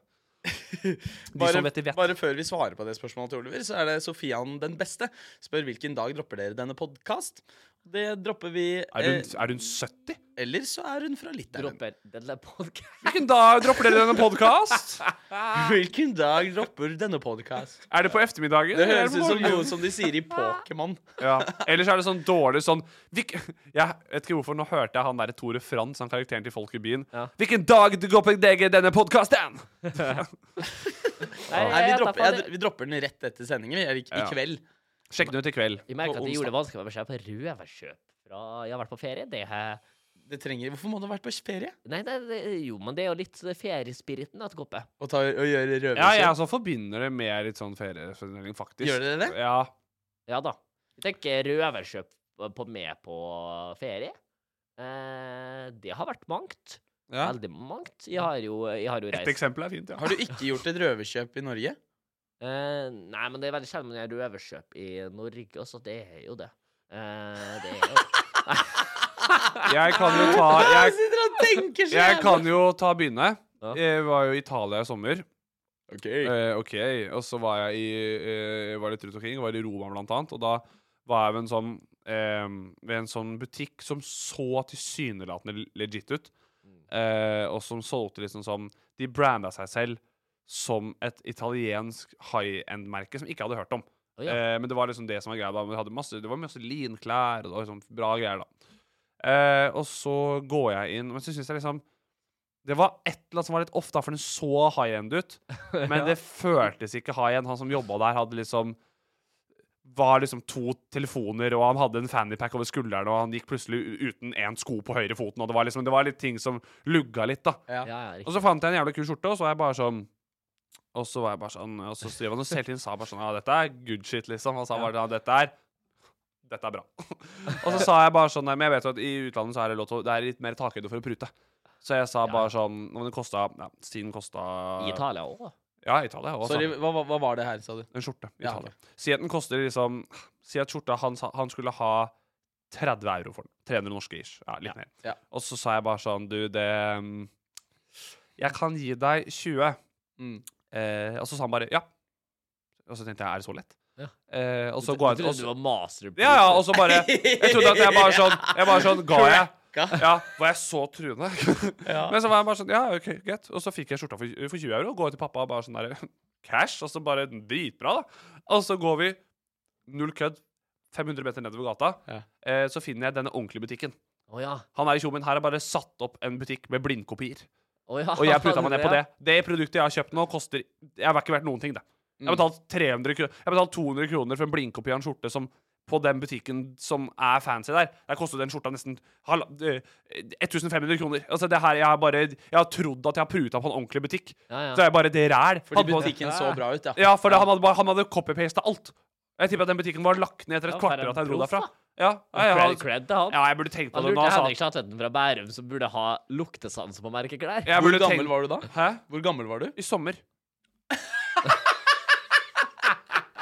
De
bare,
som vet, de vet.
bare før vi svarer på det spørsmålet til Oliver, så er det Sofian den beste. Spør hvilken dag dropper dere denne podkast? Det dropper vi
Er hun,
eh,
er hun 70?
Eller så er hun fra Litauen.
dropper denne podcasten.
Hvilken dag dropper dere denne podkast?
Hvilken dag dropper denne podkast?
Er det på eftermiddagen?
Det
eller er
høres ut
på
som
morgenen?
noe som de sier i Pokémon.
ja. Ellers er det sånn dårlig sånn hvik, Jeg vet ikke hvorfor, nå hørte jeg han derre Tore Frans, han karakteren til folk i byen. Hvilken dag dropper dere denne podkasten?
Nei,
Nei, vi
jeg vet da
dropper,
faen,
jeg, vi dropper den rett etter sendingen. vi, Eller i
Ja.
kveld.
Sjekk den ut i kveld.
Vi merker
på
at vi
onsdag.
gjorde det vanskelig med beskjed på røverkjøp fra jeg har vært på ferie. Det her
Det trenger Hvorfor må du ha vært på ferie?
Nei, det, det, jo, men det er jo litt feriespiriten at Goppe.
Og, ta, og gjøre røverkjøp?
Ja, jeg også forbinder det med litt sånn feriesending, faktisk.
Gjør dere det?
Ja.
Ja da. Jeg tenker røverkjøp eh, på med på ferie. Eh, det har vært mangt.
ja.
Veldig mangt. Jeg har jo, jeg har jo
Et
reist
eksempel er fint, ja.
Har du ikke gjort et røverkjøp i Norge?
Eh, Nei, men det er veldig sjelden jeg har røverkjøp i Norge, så det er jo det. Eh, det er jo
Jeg kan jo ta jeg,
sitter og tenker
Jeg kan jo ta begynne.
Ja.
Jeg var jo i Italia i sommer.
Ok.
Eh, ok, Og så var jeg i eh, var litt rundt omkring. Var i Roma, blant annet. Og da var jeg ved en sånn eh, Ved en sånn butikk som så tilsynelatende legit ut.
Mm.
Eh, og som solgte liksom som De branda seg selv som et italiensk high-end-merke som jeg ikke hadde hørt om.
Å, ja.
Eh, men det var liksom det som var greia da. Men det, hadde masse, det var masse linklær, og det var liksom bra greier, da. Eh, og så går jeg inn, men så syns jeg liksom Det var et eller annet som var litt off, da, for den så high-end ut. Men det føltes ikke high-end. Han som jobba der, hadde liksom var liksom to telefoner, og han hadde en fannypack over skulderen, og han gikk plutselig u- uten én sko på høyre foten, og det var liksom Det var litt ting som lugga litt, da.
Ja, ja,
Og
riktig.
så fant jeg en jævla kul skjorte, og så var jeg bare sånn Og så var jeg bare sånn Og så skrev han og hele tiden sa bare sånn Ja, dette er good shit, liksom. Han sa bare ja, dette er dette er bra. og så sa jeg bare sånn Nei, men jeg vet jo at i utlandet så er det lov til å Det er litt mer takhøyde for å prute. Så jeg sa bare sånn Men det kosta Ja, siden kosta
I Italia òg.
Ja, Italia. Og
Sorry, hva, hva- hva var det her, sa du?
en skjorte. i
Ja,
Italia. Si at den koster liksom Si at skjorta han, sa- han skulle ha 30 euro for den. 300 norske ish. Ja, litt mer.
ja.
Og så sa jeg bare sånn Du, det mm, Jeg kan gi deg 20.
Mm.
Eh, og så sa han bare ja. Og så tenkte jeg, er det så lett?
Ja.
Eh, og så
Du
går jeg
trodde
og
du
så-
var master
Ja, ja, og så bare Jeg trodde at jeg bare sånn Jeg bare sånn Ga jeg?
Ga.
Ja, var jeg så truende? Men så var jeg bare sånn Ja, OK, greit. Og så fikk jeg skjorta for, for 20 euro. Går jeg til pappa og bare sånn der Cash. Og så bare Dritbra, da. Og så går vi Null kødd. 500 meter nedover gata.
Ja.
Eh, så finner jeg denne ordentlige butikken.
Å ja.
Han er i tjommen. Her er bare satt opp en butikk med blindkopier.
Å ja.
Og jeg puta meg ned på
Ja.
det. Det produktet jeg har kjøpt nå, koster Jeg har ikke vært noen ting, det. Jeg har
Mm.
betalt 300 kroner Jeg har betalt 200 kroner for en blindkopi av en skjorte som på den butikken som er fancy der. Der kostet den skjorta nesten halv, eh, 1500 kroner. Altså det her, Jeg har bare Jeg har trodd at jeg har pruta på en ordentlig butikk.
Ja, ja.
Så er jeg bare det ræl.
Fordi
Hadde på-
butikken så bra ut, ja.
Ja, for det, han hadde, bare- han hadde copy-pasta alt. Jeg tipper at den butikken var lagt ned etter et
Ja, for
kvarter
en
at jeg dro
proff,
derfra.
da.
Ja, ja, ja,
Cred, cred til han.
ja, jeg burde tenkt på
Han
det nå.
lurte
Altså.
Henrik Slatvetten fra Bærum, som burde ha luktesans på merkeklær.
Jeg
Hvor
burde
gammel
tenkt-
var du da?
Hæ?
Hvor gammel var du?
I sommer.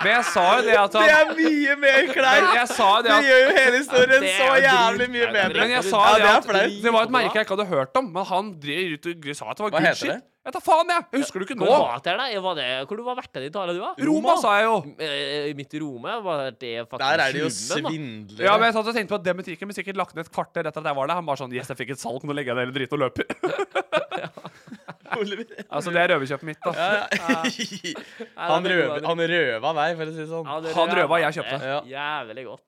Men jeg sa jo det at
Det
han
er mye mer
Men
kleint!
jeg sa jo det
Det
at
gjør jo hele historien
Det er
så
jo
jævlig
drit-
mye bedre.
Men jeg sa
ja,
det
det er
at
flaut.
det var et merke jeg ikke hadde hørt om, men han drev ut og sa at det var
Hva
good
heter
shit.
det?
Jeg tar faen, jeg! Jeg husker det ikke
Hvor
nå.
var det, da? Var det, hvor var verten din tale, du, da?
Roma, sa jeg jo.
Eh, Midt i Roma? Var det faktisk
Der er det jo
slummen, da?
svindlere.
Ja, men jeg satt og tenkte på at den butikken men sikkert lagt ned et kvarter etter at jeg var der. Han bare sånn Yes, jeg fikk et salg, nå legger jeg ned hele driten og løper.
Oliver.
altså, det er røverkjøpet mitt, da.
Ja, ja. Han,
det er
røv,
god,
han røva meg, for å si det sånn.
Ja, det
Han røva, jeg
det
kjøpte.
er Jævlig godt.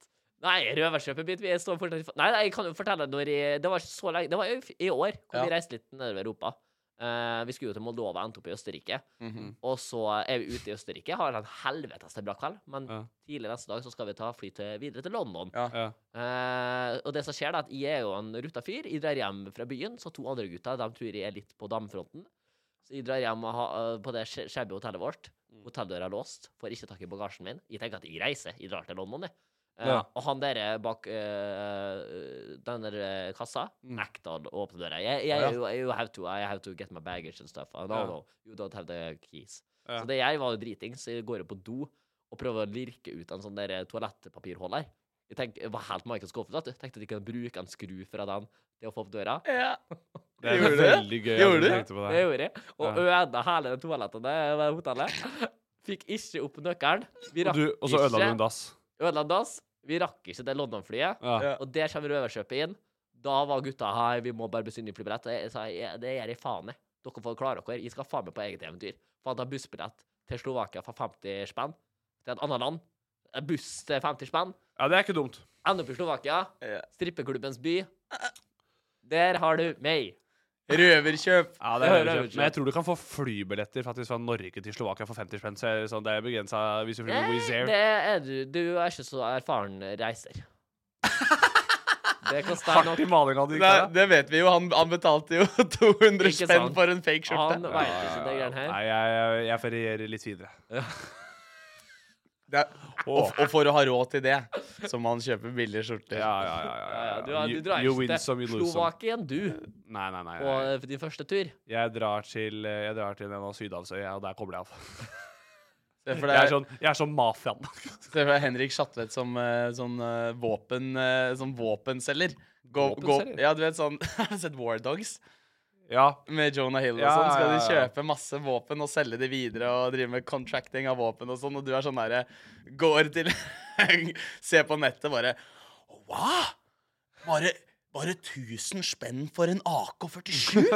Nei, røverkjøpet mitt vi står fortsatt i- Nei, nei, jeg kan jo fortelle når jeg, Det var ikke så lenge Det var i, i år. Hvor Vi
Ja.
reiste litt nedover Europa. Eh, vi skulle jo til Moldova, endte opp i Østerrike.
Mhm.
Og så er vi ute i Østerrike, har en helvetes bra kveld. Men
Ja.
tidlig neste dag så skal vi ta fly til, videre til London.
Ja.
Ja.
Eh, og det som skjer, da, er at jeg er jo en ruta fyr. Jeg drar hjem fra byen, så to andre gutter de tror jeg er litt på damefronten. Så jeg drar hjem og ha, eh, på det skje- shabby hotellet vårt. Hotelldøra er låst, får ikke tak i bagasjen min. Jeg tenker at jeg reiser, jeg drar til London, jeg. Eh,
Ja.
Og han der bak eh, den der eh, kassa
Mm.
nekta å åpne døra. Jeg, jeg,
Ja.
jeg, jeg, you have to, I have to get my baggage and stuff. I don't
Ja.
know. You don't have the keys.
Ja.
Så det jeg var jo driting, så jeg går jo på do og prøver å lirke ut en sånn der toalettpapirholder. Jeg tenk, jeg var helt Michael Scofield, vet du. Tenkte at jeg kunne bruke en skru fra den til å få opp døra.
Ja.
Det
Gjorde du det?
veldig gøy. at
Gjorde
du
du?
tenkte på
Det
det.
gjorde jeg. Og ødela hele det toalettet der ved hotellet. Fikk ikke opp nøkkelen. Vi
Og,
rakk
du, og så ødela du en dass.
ødela en dass. Vi rakk ikke det London-flyet.
Ja.
Ja.
Og der kommer røverkjøpet inn. Da var gutta her, vi må bare bestille ny flybillett. Og jeg sa jeg, det gjør jeg faen i. Dere får klare dere. Jeg skal faen meg på eget eventyr. Fant en bussbillett til Slovakia for 50 spenn. Til et annet land. En buss til 50 spenn.
ja, det er ikke dumt.
Ender opp i Slovakia.
Ja.
Strippeklubbens by. Der har du meg.
Røverkjøp.
Ja,
det
det
er
er
røverkjøp.
Men jeg tror du kan få flybilletter faktisk fra Norge til Slovakia for 50 spenn. Så så det er begrensa hvis du flyr med Wizz Air.
Det er du. Du er ikke så erfaren reiser. Det koster
Hardt
nok.
i malinga di.
Nei, det vet vi jo. Han, han betalte jo 200
Ikke
spenn
sant.
for en fake skjorte.
Han veit ikke det greiene her.
Nei, jeg, jeg, jeg ferierer litt videre.
Det er, og, og for å ha råd til det, så må han kjøpe billige skjorter.
Ja, ja, ja. ja,
Ja, ja, du,
ja.
har- du drar
you, you win
ikke
some,
til
you lose some.
Slovakien, du,
Nei, nei, nei.
på
nei.
eh, din første tur.
Jeg drar til, jeg drar til en av sydhavsøyene, og der kobler jeg av.
Se for
Jeg er
deg,
sånn, jeg er sånn mafiaen.
se for deg Henrik Schatvedt som eh, sånn eh, våpen eh, Som våpenselger. Gå, gå,
Våpenselger?
ja, du vet sånn Har du sett War Dogs?
Ja.
Med Jonah Hill og
Ja,
sånn skal de
ja, ja.
kjøpe masse våpen og selge de videre og drive med contracting av våpen og sånn, og du er sånn derre Går til Ser på nettet bare Hva? Bare, bare 1000 spenn for en AK-47?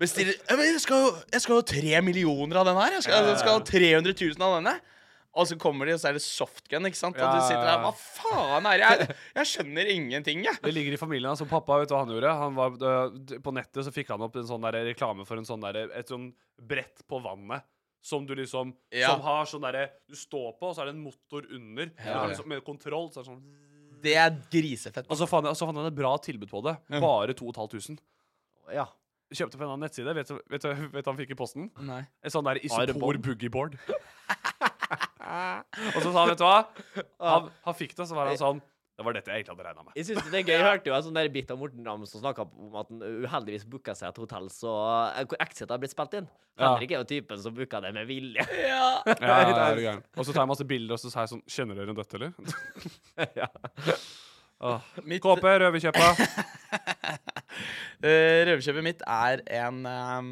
Bestiller «Ja, men jeg, skal, jo- jeg skal jo ha tre millioner av den her. Jeg skal, altså, jeg skal ha 300 000 av denne. Og så kommer de, og så er det softgun, ikke sant? Og
Ja,
du
ja,
sitter der
ja.
Hva faen er det? Jeg, jeg skjønner ingenting, jeg.
Det ligger i familien hans. og Pappa, vet du hva han gjorde? Han var, øh, d- på nettet så fikk han opp en sånn der reklame for en sånn der, et sånn brett på vannet. Som du liksom
Ja.
Som har sånn derre Du står på, og så er det en motor under. Så
ja.
er det sånn- med kontroll. Så er det sånn
Det er grisefett.
Og så fant, jeg- så fant han et bra tilbud på det. Bare 2500.
Ja.
Kjøpte på en annen nettside. Vet du vet, du- vet du hva han fikk i posten?
Nei.
En sånn der isopor
Armbånd.
boogieboard. og så sa han, vet du hva? Han, han fikk det, så var han
Eh.
sånn Det var dette jeg egentlig hadde regna med.
Jeg synes det er gøy. Jeg hørte jo en sånn der bit av Morten Ramm som snakka om at han uheldigvis booka seg et hotell så, eh, hvor Exit har blitt spilt inn.
Ja.
Henrik er jo typen som booka det med vilje.
Ja, ja, ja, er du gæren. og så tar jeg masse bilder, og så sier jeg sånn Kjenner dere dette, eller? Åh.
Mitt-
Kåpe, røverkjøpa.
Eh, Røverkjøpet mitt er en eh,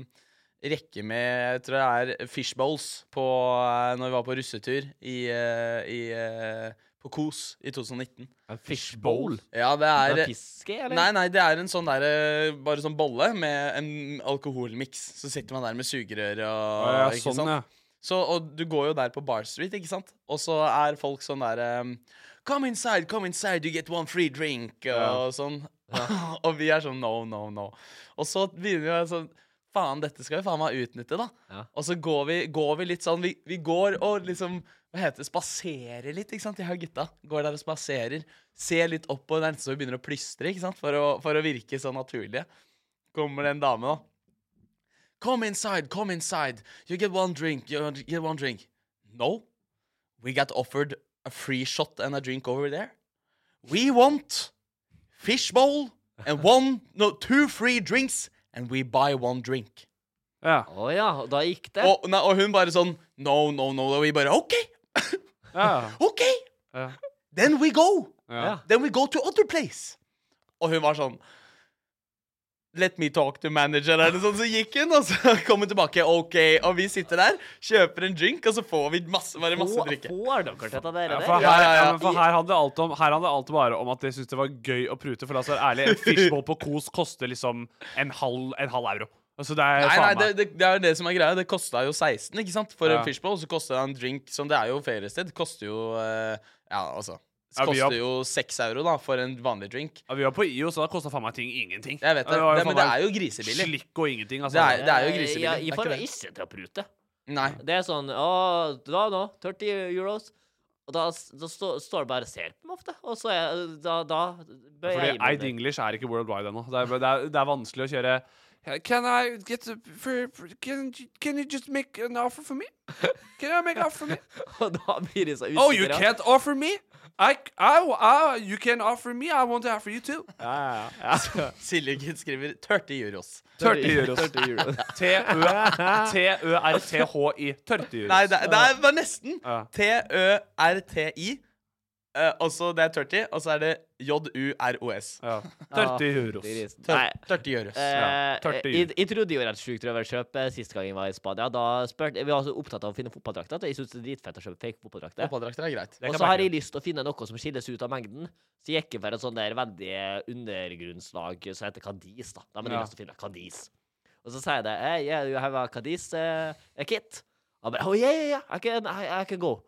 rekke med jeg tror det er fishbowls på, eh, når vi var på russetur i, eh, i, eh, på Kos i 2019.
Fishbowl?
Ja, det
Er
er
det fiske, eller?
Nei, nei, det er en sånn der, eh, bare sånn bolle med en alkoholmiks. Så sitter man der med sugerør og
Ja,
ikke
sånn,
sant?
ja.
Så, og du går jo der på Bar Street, ikke sant? Og så er folk sånn der um, Come inside, come inside, you get one free drink Og sånn Og vi er sånn, no, no, no Og så begynner vi sånn Faen, dette skal vi faen meg utnytte da
Ja.
Og så går vi, går vi litt sånn vi, vi går og liksom, hva heter det, spaserer litt Ikke sant, de her gutta Går der og spaserer Ser litt opp på den Så vi begynner å plystre, ikke sant For å, for å virke sånn naturlige Kommer det en dame da Come inside, come inside. You get one drink, you get one drink. No. We got offered a free shot and a drink over there. We want fishbowl and one, no, two free drinks, and we buy one drink.
Ja.
Å ja, og da gikk det.
Og, nei, og hun bare sånn No, no, no. Og vi bare OK.
Ja.
OK,
Ja.
then we go.
Ja.
Then we go to other place. Og hun var sånn Let me talk to manager, eller noe sånt. Så gikk hun, og så kom hun tilbake. OK. Og vi sitter der, kjøper en drink, og så får vi masse, bare masse drikke.
Får dere til dette
Ja,
der?
for her,
Ja, ja, ja.
ja, men for her handler alt om Her handler alt bare om at de syntes det var gøy å prute. For la oss være ærlig, en fishbowl på Kos koster liksom en halv, en halv euro. Altså det er
Nei, nei,
faen
det,
meg
det, det er jo det som er greia. Det kosta jo 16 ikke sant? for
Ja.
en fishbowl. Så kosta det en drink som det er jo feriested. Koster jo eh, Ja, altså.
Ja, vi har-
Koster jo 6 euro da for en vanlig drink.
ja, Vi var på IO, så da kosta faen meg ting ingenting.
Jeg vet det.
var
det men det
faen
er jo
meg
grisebillig.
Slikk og ingenting, altså.
Det er, det er jo grisebillig.
Ja,
det
jeg
er
får
ikke
meg
det.
ikke til å prute.
Nei.
Det er sånn Å, da nå, 30 euros. Og da, s- da stå, står det bare og ser på meg ofte. Og så er Da, da bøyer
Fordi
jeg meg
Eid English er ikke worldwide ennå. Det, er- det, er- det er vanskelig å kjøre Can I get a, for, can, can you just make an offer for me? Can I make an offer for me?
ned. Og da blir jeg så usikker.
Oh, you
ja.
can't offer me? I, I, I, you can offer me, I want to offer you too.
Silje Gid skriver 30 euros.
30 euros. T-ø-r-t-h-i. 30 euros.
Nei, det, det er- var nesten.
Ja.
T-ø-r-t-i. eh, og så det er 30, og så er det j-u-r-o-s.
Ja. 30 euros.
Det er risen.
Tør-
sånn, Nei.
30 euros.
Eh,
30
jeg, jeg trodde jeg var et sjukt røverkjøp eh, sist gang jeg var i Spania. Da spurte, Vi var så opptatt av å finne fotballdrakter at jeg syns det er dritfett å kjøpe fake fotballdrakter.
Fotballdrakter er greit.
Og så har jeg lyst til å finne noe som skilles ut av mengden. Så jeg gikk for et sånn der veldig undergrunnslag som heter Kadis. da. Da må jeg
Ja.
lyst til å finne Kadis. Og så sier jeg det. Hey, yeah, you have a Kadis eh, a kit? Og bare, oh, yeah, yeah, yeah, I can, I, I can go.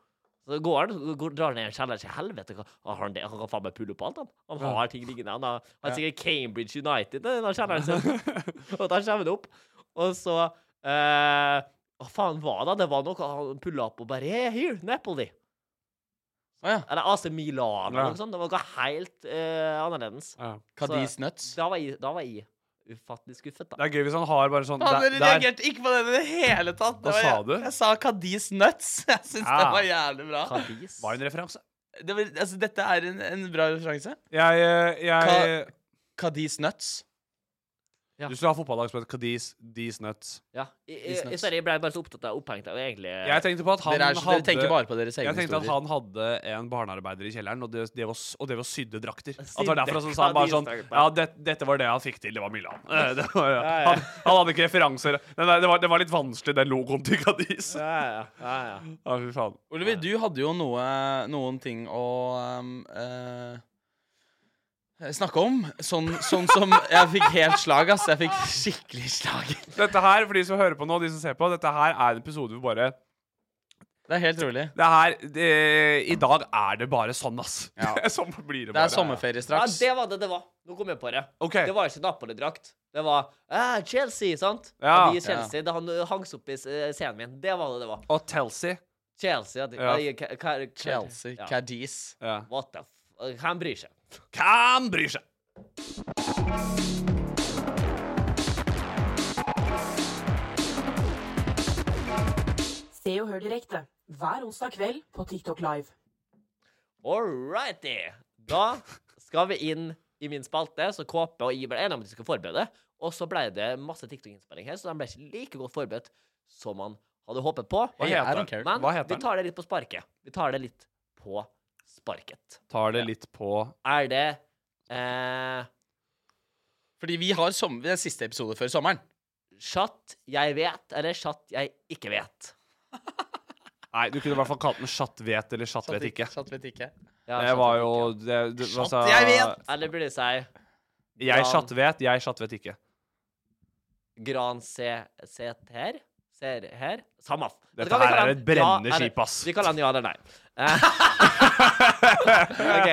Så går han, går, drar ned i en kjeller til helvete. hva- hva har Han, det? han kan faen meg pulle opp alt, han. Han har ting liggende. Han har, han har sikkert Cambridge United i den kjelleren sin. og da kommer det opp. Og så eh, Hva faen var det? Det var noe han pulla opp og bare Yeah, here, Napoli.
Å ja.
Eller AC Milan eller
Ja.
noe sånt. Det var noe helt eh, annerledes.
Ja.
Cadiz Nuts.
Da var, jeg, da var jeg ufattelig skuffet, da.
Det er gøy hvis han har bare sånn
Faen,
der,
dere
der.
reagerte ikke på den i det hele tatt. Det
Hva
var-
sa du?
Jeg sa Cadiz Nuts. Jeg syns det
Ah.
var jævlig bra.
Cadiz.
Var en referanse.
Det var, altså, dette er en, en bra referanse.
Jeg, eh, jeg
Ka- Cadiz Nuts.
Ja.
Du skulle ha fotballag som het Cadiz Dees Nuts.
Ja. I, i,
Disney.
i Sverige ble jeg bare så opptatt av opphengt av egentlig eh,
Jeg tenkte på at han
Dere, er, så- dere
hadde
tenker bare på deres egne
jeg tenkte at
historier.
han hadde en barnearbeider i kjelleren, og det, det var, s- og det var sydde drakter. At det var derfor han sa han bare sånn Ja, det, dette var det han fikk til. Det var Milan. Eh, Det var, ja.
Ja, ja.
han, han hadde ikke referanser. Den, der- det, var, det var litt vanskelig, den logoen til Cadiz. Ja,
ja, ja, ja, ja.
fy faen.
Oliver, du hadde jo noe, noen ting å um, eh, snakke om. Sånn, sånn som Jeg fikk helt slag, ass. Jeg fikk skikkelig slag.
Dette her, for de som hører på nå, de som ser på, dette her er en episode hvor bare
Det er helt rolig.
Det her det, I dag er det bare sånn, ass.
Ja.
sånn blir det
Det
bare.
er sommerferie
ja,
straks.
det var det det var. Nå kom jeg på det.
OK.
Det var ikke Napoli-drakt. Det var eh, Chelsea, sant?
Ja.
Fordi Chelsea, Det han hang seg opp i eh, scenen min. Det var det det var.
Og Telsi.
Chelsea. Ja. det-
Ja.
eh, ka- ka- ka-
Chelsea,
Ja.
Cadiz.
Ja.
What the f... Han bryr seg.
Hvem bryr seg?
Se og hør direkte hver onsdag kveld på TikTok Live.
All righty. Da skal vi inn i min spalte, så KP og I ble enige om at vi skal forberede. Og så ble det masse TikTok-innspilling her, så de ble ikke like godt forberedt som man hadde håpet på.
Hva
Hey, I
heter
don't
den?
care.
Men
Hva heter
vi
den?
tar det litt på sparket. Vi tar det litt på sparket.
Tar det litt på
Er det eh,
Fordi vi har som, det er siste episode før sommeren.
Chat jeg vet, eller chat jeg ikke vet?
Nei, du kunne i hvert fall kalt den Chat vet eller Chat vet ikke.
Satt vet ikke.
Ja,
Det
chat
var
jeg
jo
ikke
det, det, hva sa-
Chat, jeg vet!
vet. Eller burde jeg si
Jeg chat vet, jeg chat vet ikke.
Gran se, set her? Ser her? Samme. f-
Dette
Kan vi
her
kalle
er
den
et brennende
ja eller-
skip, ass.
Vi kaller den ja eller nei. Eh, ok.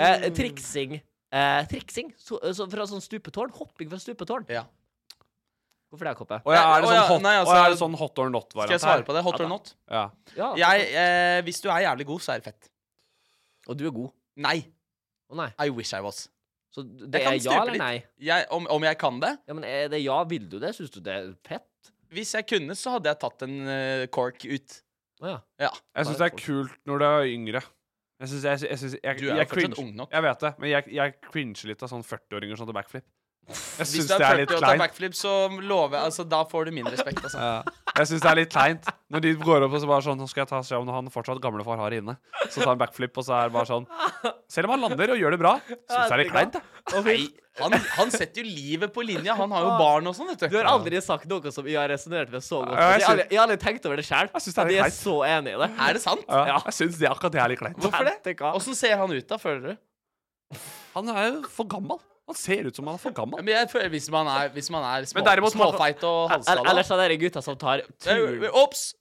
Eh, triksing. Eh, triksing så, så fra sånn stupetårn. Hopping fra stupetårn.
Ja.
Hvorfor det, Koppe?
Å ja, er det
Å ja,
sånn hot,
nei, altså-
å ja, er det sånn hot or not-variant
Skal jeg svare på det? Hot
Ja,
or
da.
not?
Ja.
Ja,
Jeg, eh, hvis du er jævlig god, så er det fett.
Og du er god.
Nei.
Å nei.
I wish I was.
Så det
Jeg
er
kan
Eh, ja
stupe
eller
litt.
nei?
Jeg, om, om jeg kan det?
Ja, men er det ja? Vil du det? Syns du det er fett?
Hvis jeg kunne, så hadde jeg tatt en eh, cork ut.
Å ja.
Ja.
Jeg syns det er kult når du er yngre. Jeg synes, jeg, jeg, synes, jeg,
Du er jo
jeg
fortsatt
cringe-
ung nok.
Jeg vet det, men jeg, jeg cringer litt av sånn 40-åringer som tar backflip. Jeg
Hvis
syns
du
det
er
er litt
40 og tar
kleint.
backflip, så lover jeg altså, Da får du min respekt, altså.
Ja. Jeg syns det er litt kleint når de går opp og så bare sånn Nå skal jeg ta og se om han fortsatt gamlefar har inne. Så tar han backflip, og så er det bare sånn Selv om han lander og gjør det bra, syns jeg det er litt kleint. jeg.
Nei, han, han setter jo livet på linja. Han har jo barn og sånn, vet du.
Du har aldri sagt noe som jeg har resonnert med så godt.
Ja, jeg
Jeg har aldri, jeg har aldri tenkt over det sjøl.
Jeg synes det er litt
Jeg er
teit.
så enig i det.
Er det sant?
Ja, jeg syns det akkurat det er litt kleint.
Hvorfor det?
Tenk hva.
Åssen ser han ut, da, føler du?
Han er jo for gammel. Han ser ut som han er for
Ja,
gammel.
Men jeg føler, hvis man er, hvis man er små,
Men derimot-
småfeit og
Eller-
halvskalla
Ellers er det de gutta som tar turen
Eh, Ops!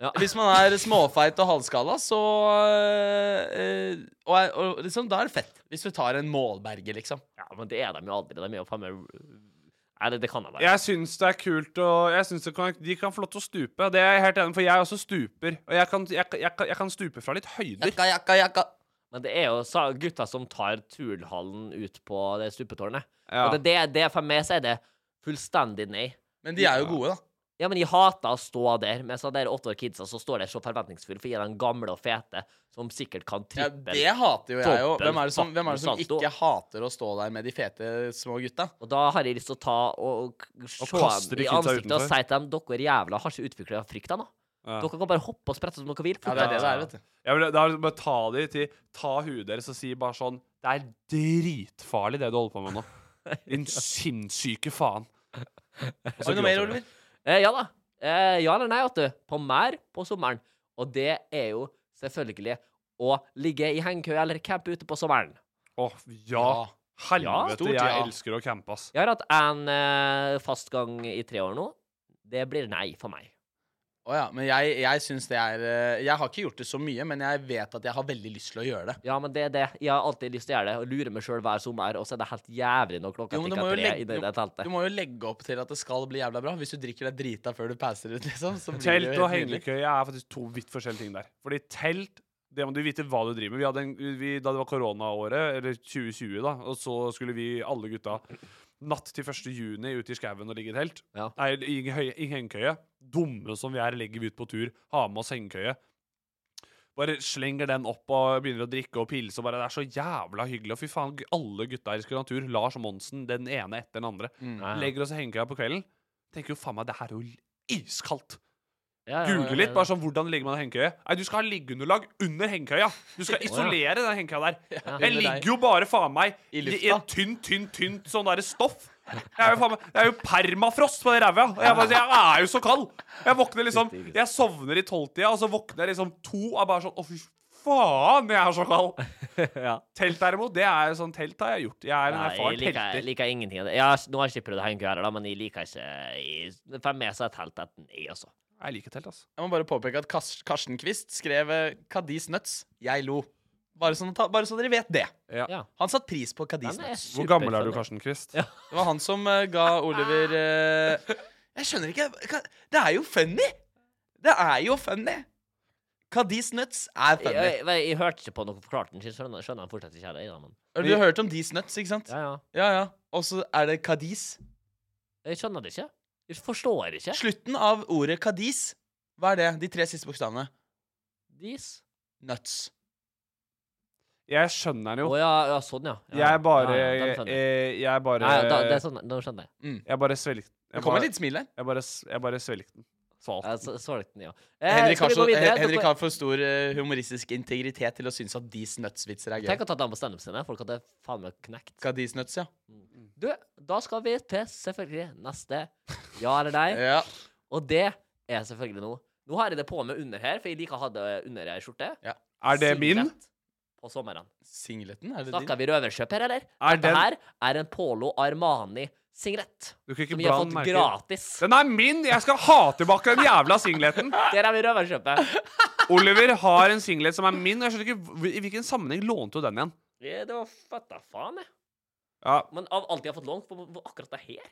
Ja.
Hvis man er småfeit og halvskalla, så eh, og, er- og liksom, Da er det fett. Hvis du tar en målberger, liksom.
Ja, men det er de jo aldri. De er jo faen meg Nei, det, det kan de være.
Jeg syns det er kult, og jeg synes det kan, de kan få lov til å stupe. Det er jeg helt enig i, for jeg også stuper. Og jeg kan, jeg, jeg, jeg kan stupe fra litt høyder.
Jakka, jakka, jakka.
Men det er jo sa- gutta som tar Tulhallen ut på det stupetårnet.
Ja.
Og det, det, det for meg så er det fullstendig nei.
Men de er jo gode, da.
Ja, men jeg hater å stå der med sånne der åtte år kidsa som står der så forventningsfulle, for jeg er den gamle og fete som sikkert kan
Ja,
trippel.
det hater jo jeg òg.
Dobbel
Hvem er det som, hvem er det som
fucking salto.
ikke hater å stå der med de fete små gutta?
Og da har jeg lyst til å ta og, og se
kaste
dem
de
i ansiktet
kidsa
og
utenfor.
si til dem dere jævla har ikke utvikla frykta nå. Dere kan bare hoppe og sprette som dere vil.
Ja, det er det det er, vet du.
Jeg vil, da vil jeg bare ta de til Ta huet deres og si bare sånn Det er dritfarlig det du holder på med nå. Din sinnssyke faen. Og så
Har du noe
gråter
mer,
de.
Oliver?
Eh, ja da. Eh, ja eller nei, vet du. På mer på sommeren. Og det er jo selvfølgelig å ligge i hengekøye eller campe ute på sommeren.
Åh, ja.
Ja.
Ja,
Helvete,
stort
jeg
ja.
elsker å campe, ass.
Jeg har hatt en eh, fast gang i tre år nå. Det blir nei for meg.
Å ja, men jeg, jeg syns det er eh, Jeg har ikke gjort det så mye, men jeg vet at jeg har veldig lyst til å gjøre det.
Ja, men det er det. Jeg har alltid lyst til å gjøre det. Og lure meg sjøl hver sommer, og så er det helt jævlig når klokka
Jo, men du
tikker
må jo
tre
legge-
i det, det teltet.
Du må jo legge opp til at det skal bli jævla bra. Hvis du drikker deg drita før du passer ut, liksom. Så blir det
Telt
jo
og
helt nydelig.
hengekøye er faktisk to vidt forskjellige ting der. Fordi telt det må du vite hva du driver med. Vi hadde en, vi, da det var koronaåret, eller 2020, da, og så skulle vi alle gutta natt til 1. juni ut i skauen og ligge i telt.
Ja.
Nei, i, høy- i hengekøye. Dumme som vi er, legger vi ut på tur. Har med oss hengekøye. Bare slenger den opp og begynner å drikke og pilse. og bare, Det er så jævla hyggelig. Og fy faen, alle gutta her i Skranatur, Lars og Monsen, den ene etter den andre,
Mm.
Ja, ja.
legger oss i hengekøya på kvelden. Tenker jo faen meg, det her er jo iskaldt.
Ja, ja, ja, ja,
Google litt,
ja.
bare sånn hvordan legger man hengekøye? Nei, du skal ha liggeunderlag under hengekøya. Du skal isolere den hengekøya der. Jeg
under deg.
ligger jo bare faen meg
I
i,
lufta.
i en tynn, tynn, tynt sånn derre stoff. Jeg er jo faen meg Det er jo permafrost på det ræva. Og Jeg, bare, jeg er jo så kald. Jeg våkner liksom Jeg sovner i tolvtida, og så våkner jeg liksom to og er bare sånn Å, fy faen, jeg er så kald.
Ja.
Telt derimot, det er jo sånn Telt har jeg gjort. Jeg er en
Nei, jeg
erfaren
liker, jeg
telter.
liker ingenting av det. Jeg, har- nå har jeg ikke prøvd å henge her, da, men jeg liker ikke jeg, For meg så er telt et nei, altså.
Jeg liker telt, altså.
Jeg må bare påpeke at Kars Karsten Kvist skrev eh, 'Kadis Nuts'. Jeg lo. Bare så, bare så dere vet det.
Ja.
Ja.
Han satte pris på
Den
Kadis
er
Nuts.
Hvor gammel er du,
superfunny.
Karsten Kvist?
Det var han som eh, ga Oliver eh, Jeg skjønner ikke hva- Det er jo funny! Det er jo funny! Kadis Nuts er
Jeg,
funny.
jeg, jeg, jeg hørte ikke på noe forklart den, så jeg skjønner, skjønner jeg fortsatt ikke det. Ja, men,
Du har hørt om Dis Nuts, ikke sant?
ja, ja.
Ja, ja. Og så er det Kadis.
Jeg skjønner det ikke. Jeg forstår ikke.
Slutten av ordet Kadis, hva er det? De tre siste bokstavene.
Dis.
Nuts.
Jeg skjønner
Å
den jo.
ja, ja, sånn, ja. ja.
Jeg bare
ja, ja, den skjønner jeg.
eh, Jeg bare
Nei, da, det er sånn, nå skjønner jeg.
Jeg bare svelgte
Det
jeg
kom
bare,
et lite smil der.
jeg bare, s- jeg bare svelgte den. Svalt.
Jeg så- solgte den, ja. Eh,
Henrik
skal
har,
vi
så,
gå videre?
Hen- Henrik
Dere-
har for stor eh, humoristisk integritet til å synes at Dis Nuts-vitser er gøy.
Tenk å ta den på standup scenen Folk hadde faen meg knekt.
Kadis Nuts, ja.
Du, da skal vi til selvfølgelig neste ja eller nei.
ja.
Og det er selvfølgelig nå. Nå har jeg det på meg under her, for jeg liker å ha det under ei skjorte.
Er det min?
Singlet På sommeren.
Singleten, er det din?
Snakker vi røverkjøp her, eller?
Er
Dette
den
her er en Polo Armani singlet.
Du kan ikke
Som vi har
blande
fått
merker.
gratis.
Den er min! Jeg skal ha tilbake den jævla singleten.
Der er vi i røverkjøpet.
Oliver har en singlet som er min. og Jeg skjønner ikke hv- I hvilken sammenheng lånte du den igjen?
Ja, Det var fetta faen, jeg.
Ja,
Men av alt jeg har fått lånt, på, på akkurat det her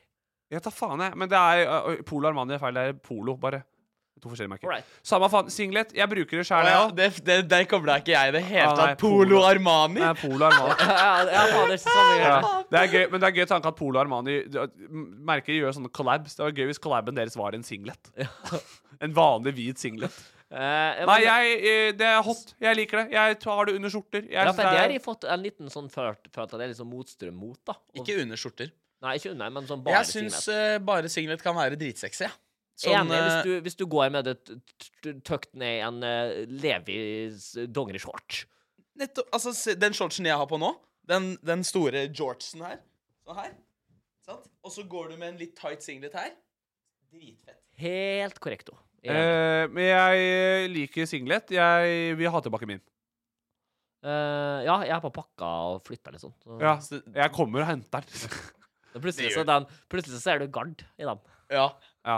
jeg tar faen, jeg. Men det er ø, ø, Polo Armani er feil. Det er Polo, bare. To forskjellige merker.
Alright.
Samme faen. Singlet. Jeg bruker det
Å
sjæl,
ja,
jeg òg.
det, det, der kobla ikke jeg i det hele
Ah, nei,
tatt. Polo
Polo.
Armani.
Polo Armani.
Ja, ja, faen, det er ikke samme
Ja.
greie.
Det er gøy, men det er gøy tanke at Polo Armani d- at m- merker gjør sånne collabs. Det var gøy hvis collaben deres var en singlet. En vanlig hvit singlet.
Eh,
Nei,
men-
jeg, eh, det er hot. Jeg liker det. Jeg tar det under skjorter. Jeg
ja,
synes
for
det
det
er-
har jeg fått en liten sånn følt, følt at det er liksom motstrøm mot, da. Og,
Ikke under skjorter.
Nei, ikke unna, men sånn bare
Jeg syns
singlet.
eh, bare singlet kan være dritsexy. Ja. Sånn,
Enig, hvis
eh,
du, hvis du går med det t- t- tøkt ned i en eh, Levis dongerishorts.
Nettopp, altså, se, den shortsen jeg har på nå, den, den store jortsen her, sånn her, sant? og så går du med en litt tight singlet her, dritfett.
Helt korrekto. Enig.
Eh, men jeg eh, liker singlet. Jeg vil ha tilbake min.
Eh, ja, jeg har bare pakka og flytta litt sånn. Så.
Ja,
Så-
jeg kommer og henter den.
Så Plutselig, så den, plutselig så er du gard i den.
Ja.
Ja.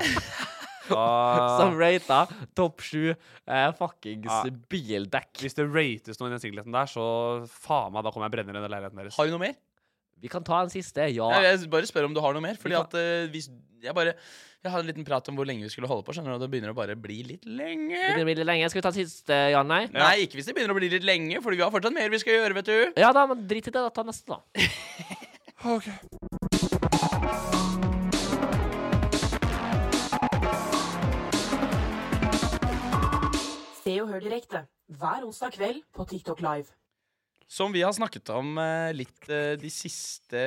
Som
Da,
rata topp sju eh, fuckings
Ja.
bildekk.
hvis det rates noe i den singleten der, så faen meg, da kommer jeg brenne ned den leiligheten deres.
Har du noe mer?
Vi kan ta en siste. Ja.
Jeg, jeg bare spør om du har noe mer, fordi
Vi kan-
at eh, hvis Jeg bare Jeg hadde en liten prat om hvor lenge vi skulle holde på, skjønner du, og det begynner å bare bli litt
Det
lenge.
begynner å bli litt lenge. Skal vi ta en siste, Jan? Nei?
Nei, ikke hvis det begynner å bli litt lenge, Fordi vi har fortsatt mer vi skal gjøre, vet du.
Ja da, men drit i det. da, Ta neste, da.
Se og hør direkte hver onsdag kveld på TikTok Live.
Som vi har snakket om eh, litt eh, de siste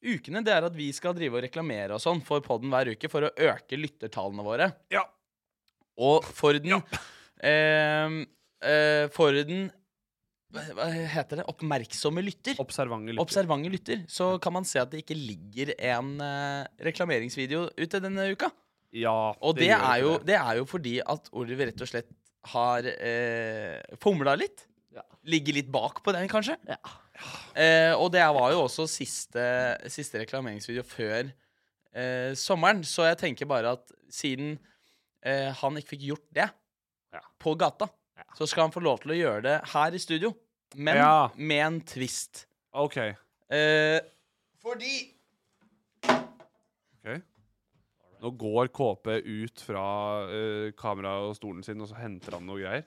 ukene, det er at vi skal drive og reklamere og sånn for podden hver uke for å øke lyttertallene våre.
Ja.
Og for den eh, eh, For den hva, hva heter det? Oppmerksomme lytter.
Observante lytter.
Observante lytter. Så kan man se at det ikke ligger en eh, reklameringsvideo ute denne uka.
ja,
Og det,
gjør
er,
ikke
jo,
det.
det er jo fordi at Oliver rett og slett har eh, fomla litt.
Ja.
Ligger litt bak på den, kanskje.
Ja.
Eh, og det var jo også siste, siste reklameringsvideo før eh, sommeren, så jeg tenker bare at siden eh, han ikke fikk gjort det
Ja.
på gata, så skal han få lov til å gjøre det her i studio, men
Ja.
med en twist.
OK.
Eh, fordi
ok. Nå går KP ut fra eh, kameraet og stolen sin, og så henter han noe greier.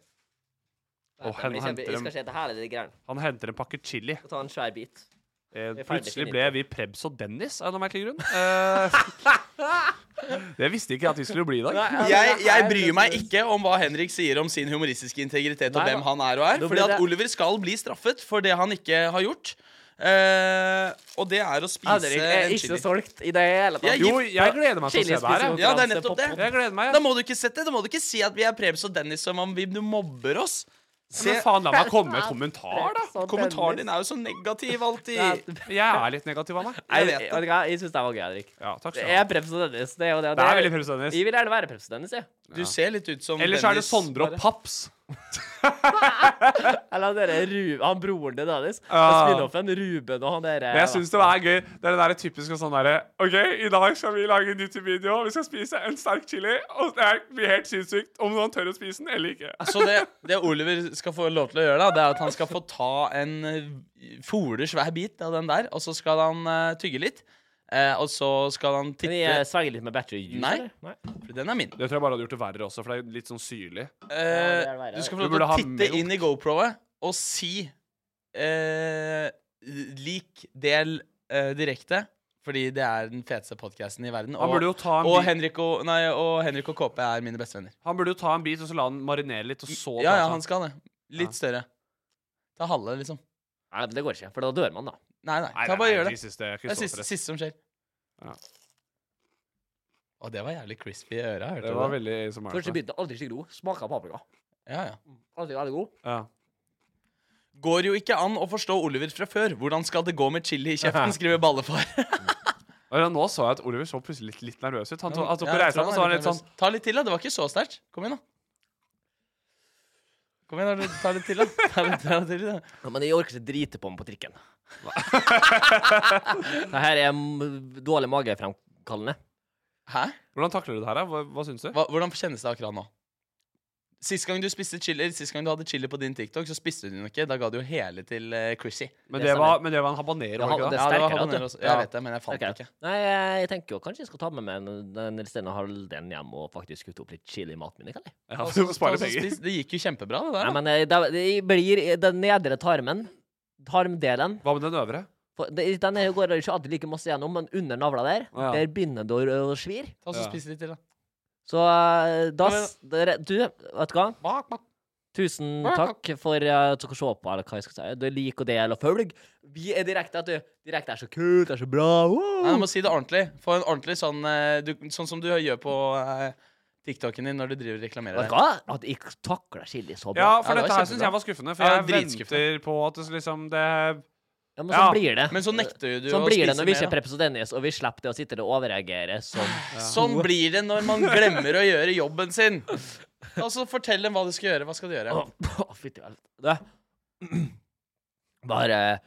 Og hen,
Jeg
henter
skal
en,
se det her, det greiene.
han henter en pakke chili.
Skal ta en svær bit.
Eh,
Vi er ferdig
plutselig
med
ble vi Prebz og Dennis av noen merkelig grunn. Eh, det visste ikke jeg at vi skulle bli i dag.
jeg, jeg bryr meg ikke om hva Henrik sier om sin humoristiske integritet og
Nei,
hvem
da.
han er og er.
Da blir
Fordi at
det-
Oliver skal bli straffet for det han ikke har gjort. Eh, og det er å spise
Henrik er
en
ikke
chili.
solgt i det hele tatt.
Jeg
Jo, jeg gleder meg til å se det her. jeg.
sånn. Ja, det er nettopp det.
Jeg gleder meg.
Da
jeg.
må du ikke sette, da må du ikke si at vi er Prebz og Dennis som om vi, du mobber oss. Se,
Men faen, la meg komme med en kommentar, da.
Kommentaren din er jo så negativ alltid.
Jeg er litt negativ av meg.
Jeg,
vet
jeg,
det.
vet ikke hva, jeg syns det var gøy, Henrik.
Ja, takk
Det
skal du ha.
er Prebz og Dennis. Det er jo det. og
Det er
det
veldig Prebz og Dennis.
Jeg vil gjerne være Prebz og Dennis, jeg.
Du ser litt ut som
Ellers er det
Dennis.
Sondre og Paps.
Eller han derre Ru- han broren til Dennis.
Ja.
Og spin-offen Ruben og han derre
Men jeg syns det er gøy. Det er det der typiske sånn derre OK, i dag skal vi lage en YouTube-video. Vi skal spise en sterk chili. Og det er- blir helt sinnssykt om noen tør å spise den eller ikke.
Så det, det Oliver skal få lov til å gjøre, da, det er at han skal få ta en eh, fole svær bit av den der, og så skal han eh, tygge litt. Eh, og så skal han
Kan
titte
jeg eh, svelge litt med battery juice,
Nei.
eller? Nei.
For Den er min.
Det tror jeg bare hadde gjort det verre også, for det er litt sånn syrlig.
Eh,
det er verre.
du skal få lov
Du
til
burde ha
å titte
milk.
inn i GoPro-et og si eh, lik del eh, direkte, fordi det er den feteste podkasten i verden.
Han
Og,
burde jo ta en
og,
bit-
Henrik og, nei, og Henrik og KP er mine bestevenner.
Han burde jo ta en bit og så la den marinere litt, og så
Ja,
ta
ja,
seg-
han skal det. Litt større. Ta halve, liksom.
Nei, men det går ikke, for da dør man, da.
Nei, nei.
Nei,
Ta
nei,
bare
nei,
gjør det.
Jesus, det er ikke
Det er
så
siste,
stress.
siste som skjer.
Ja.
Og det var jævlig crispy i øra. Hørte
Det
du
var
det?
veldig altså. som er
Første biten aldri ikke god. Smaker paprika.
Ja, ja.
Aldri veldig god.
Ja.
Går jo ikke an å forstå Oliver fra før. Hvordan skal det gå med chili i kjeften? skriver Ballefar.
Og ja, Nå så jeg at Oliver så plutselig litt, litt nervøs ut. Han, to, han tok
Ja,
og
jeg
reiste
tror
seg opp, og
han er
så var han litt sånn
nervøs. Ta litt til, da. Det var ikke så sterkt. Kom igjen, da. Kom igjen, da. Ta litt til, da. Ta litt, ta litt til, da.
Ja, men jeg orker ikke drite på meg på trikken. det her er mm, dårlig magefremkallende.
Hæ?
Hvordan takler du det her, da? Hva, hva syns du?
Hva, hvordan kjennes det akkurat nå? Sist gang du spiste chili Sist gang du hadde chili på din TikTok, så spiste du den ikke. Da ga du jo hele til eh, Chrissy.
Men
det
det,
stemmer.
var, men det var en habanero, var
Ja,
ikke
det
det?
er
Ja, det var
sterkere, vet du.
habanero også. Jeg vet det, men jeg fant det
Ok.
ikke.
Nei, jeg, jeg tenker jo kanskje jeg skal ta med meg den- den resterende halvdelen hjem og faktisk kutte opp litt chili i maten min. Kan jeg?
Ja, du må spare
Altså, Ta og
penger.
spis. Det gikk jo kjempebra, det der.
Nei,
da.
men eh, det, det blir den nedre tarmen, tarmdelen
Hva med den øvre?
for det- Den her går ikke alltid like masse gjennom, men under navla der,
Ja.
der begynner det å å svir.
Ta og
Ja.
spis litt til, da.
Så eh, da s- dere- Du, vet du hva?
Bak, bak.
Tusen takk for eh, at dere så på, eller hva jeg skal si. Du liker og del og følg. Vi er direkte, at du. Direkte er så kult, det er så bra.
Nei,
Woo!
du må si det ordentlig. Få en ordentlig sånn eh, du, Sånn som du gjør på eh, TikToken din når du driver og reklamerer
Vet du
der.
hva? At jeg takla chili så bra.
Ja,
Ja,
for
det var
dette her syns
kjempebra.
jeg var skuffende, for
Ja,
jeg
dritskuffende.
venter på at det liksom det
Ja, men sånn
Ja,
blir det.
Men så nekter jo du
sånn
å
blir det
spise
når vi
mer.
ikke er
da.
Preps og Dennis, og vi slipper det å sitte der og overreagere som
Sånn blir det når man glemmer å gjøre jobben sin. Altså, fortell dem hva de skal gjøre. Hva skal de gjøre?
Å, å, fytti vel. Du. Bare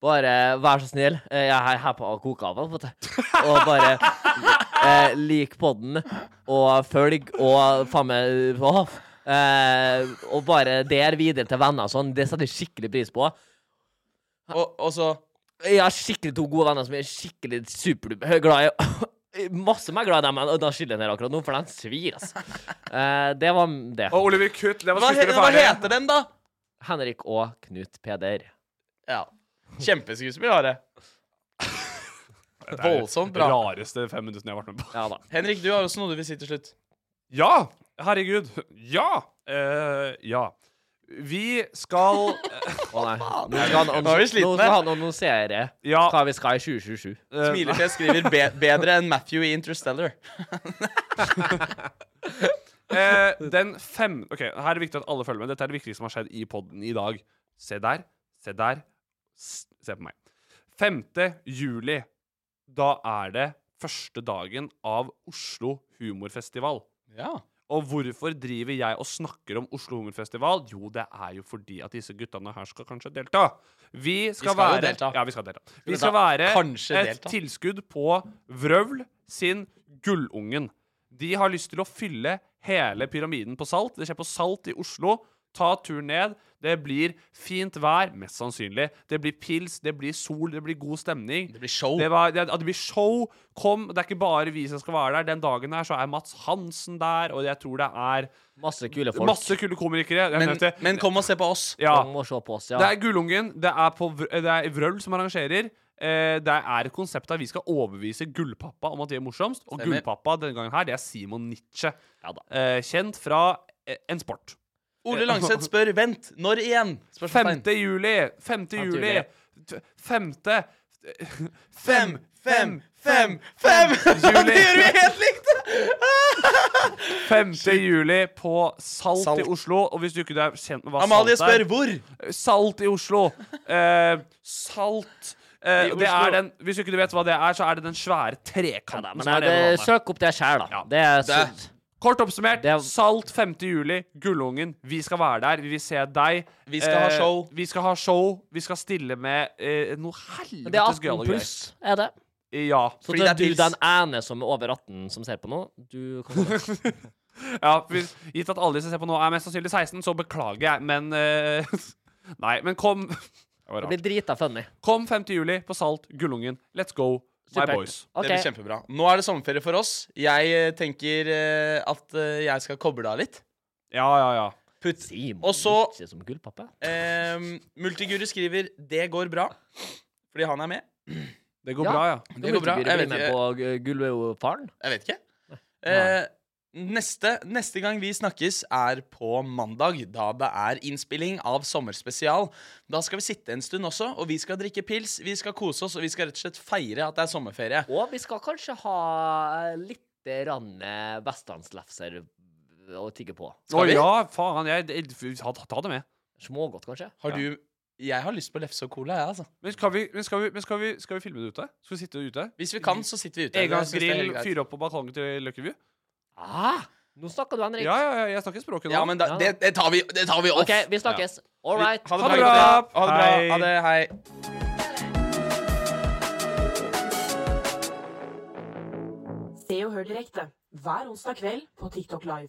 Bare vær så snill. Eh, Jeg er her på å koke av, på en måte. Og bare eh, lik podden, og følg, og faen meg åh. eh, Og bare der videre til venner og sånn. Det setter jeg skikkelig pris på.
Og, og så
Jeg har skikkelig to gode venner som jeg er skikkelig superduper glad i. Masse mer glad i dem enn den skylden her akkurat nå, for den svir, altså. Eh, det var det.
Og Oliver Kutt, det var
hva, he
skuespillet
hva
ferdig.
heter den, da?
Henrik og Knut Peder.
Ja. Kjempeskuespill, Are. Voldsomt
Det
bra.
rareste fem minuttene jeg har vært med på.
Ja da.
Henrik, du har også noe du vil si til slutt.
Ja! Herregud. Ja! Eh, ja. Vi skal eh,
Å nei. Nå skal han,
Nå er vi slitne.
nå skal han annonsere
Ja.
hva vi skal i 2027.
eh,
Smilefjes skriver be bedre enn Matthew i Interstellar.
Eh, den fem Ok, her er det viktig at alle følger med. Dette er det viktigste som har skjedd i podden i dag. Se der, se der, s- se på meg. 5. juli. Da er det første dagen av Oslo humorfestival.
Ja.
Og hvorfor driver jeg og snakker om Oslo humorfestival? Jo, det er jo fordi at disse guttene her skal kanskje delta. Vi skal,
skal jo
være
delta.
Ja, vi skal delta. Vi
delta.
skal være
Kanskje
et
delta.
tilskudd på Vrøvl sin Gullungen. De har lyst til å fylle hele pyramiden på Salt. Det skjer på Salt i Oslo. Ta turen ned. Det blir fint vær, mest sannsynlig. Det blir pils, det blir sol, det blir god stemning.
Det blir show.
Det, var, det, at det blir show. Kom. Det er ikke bare vi som skal være der. Den dagen her så er Mats Hansen der, og jeg tror det er
Masse kule folk.
masse kule komikere. Jeg
Men,
nevnte-
men kom og se på oss.
ja.
Kom og se på oss, ja.
Det er Gullungen. Det er, på, Vr- eh, det er Vrøl som arrangerer. Eh, det er et konsept der vi skal overbevise Gullpappa om at vi er morsomst. Og
Stemmer.
Gullpappa denne gangen her, det er Simon Nietzsche.
Ja da.
Eh, kjent fra eh, en sport.
Ole Langseth spør 'Vent, når igjen?' Spørsmålstegn.
5. juli! 5. juli!
juli.
T- Femte eh,
Fem, fem, fem, fem! Det gjør vi helt likt!
5. juli på Salt,
Salt.
i Oslo. Og hvis du ikke er kjent med hva
Amalie
Salt
spør
er
'Hvor?'
Salt i Oslo. Eh, salt eh,
I
det
Oslo.
er den, Hvis du ikke vet hva det er, så er det den svære trekanten.
Men
som er
jeg,
det,
det,
navnet.
søk opp det sjæl, da.
Ja.
Det er
Det-
sunt.
Kort oppsummert.
Det er-
Salt 5. juli. Gullungen. Vi skal være der. Vi vil se deg. Eh,
Vi skal ha show.
Vi skal ha show. Vi skal stille med eh, noe
Men Det er 18
helvetes gøyale greier.
pluss, er det.
Ja.
Så
Fordi
det
det
er
er
du
pils.
den ene som er over 18 som ser på nå. Du kommer til
ja hvis, gitt at alle de som ser på nå, er mest sannsynlig 16, så beklager jeg, men eh, Nei, men kom. Det var
å
rart.
bli drita funny.
Kom 5. juli på Salt, Gullungen. Let's go, my
Supert.
boys.
OK.
Det blir kjempebra. Nå er det sommerferie for oss. Jeg eh, tenker eh, at eh, jeg skal koble av litt.
Ja, ja, ja.
Putt.
Simon
Og så-
Nietzsche som gullpappa.
Ehm, Multiguru skriver 'Det går bra', fordi han er med.
Det går
Ja.
bra, ja.
Det går bra. Jeg
Jeg
vet
blir med
ikke.
på eh, Gullfaren.
Jeg vet ikke. Eh, neste, neste gang vi snakkes, er på mandag, da det er innspilling av sommerspesial. Da skal vi sitte en stund også, og vi skal drikke pils, vi skal kose oss, og vi skal rett og slett feire at det er sommerferie.
Og vi skal kanskje ha litt rann eh, vestlandslefser å tigge på.
Å
Skal vi?
ja, faen. Jeg, jeg, ta, ta det med.
Smågodt, kanskje.
Har du Jeg har lyst på lefse og cola, jeg, altså.
Men skal vi, men skal vi, men skal vi, skal vi filme det ute? Skal vi sitte ute?
Hvis vi kan, så sitter vi ute. Jeg synes
Engangsgrill,
det er helt greit.
fyre opp på balkongen til Løkkeview?
Ah, nå snakker du, Henrik.
Ja, ja, ja, jeg snakker språket nå.
Ja, men da,
Ja, da.
det, det, tar vi, det tar vi off.
OK, vi snakkes. All right.
Ha det
Ha
bra.
det
gutta.
bra.
Ha det bra.
Hei.
Ha det, hei.
Se og hør direkte hver onsdag kveld på TikTok Live.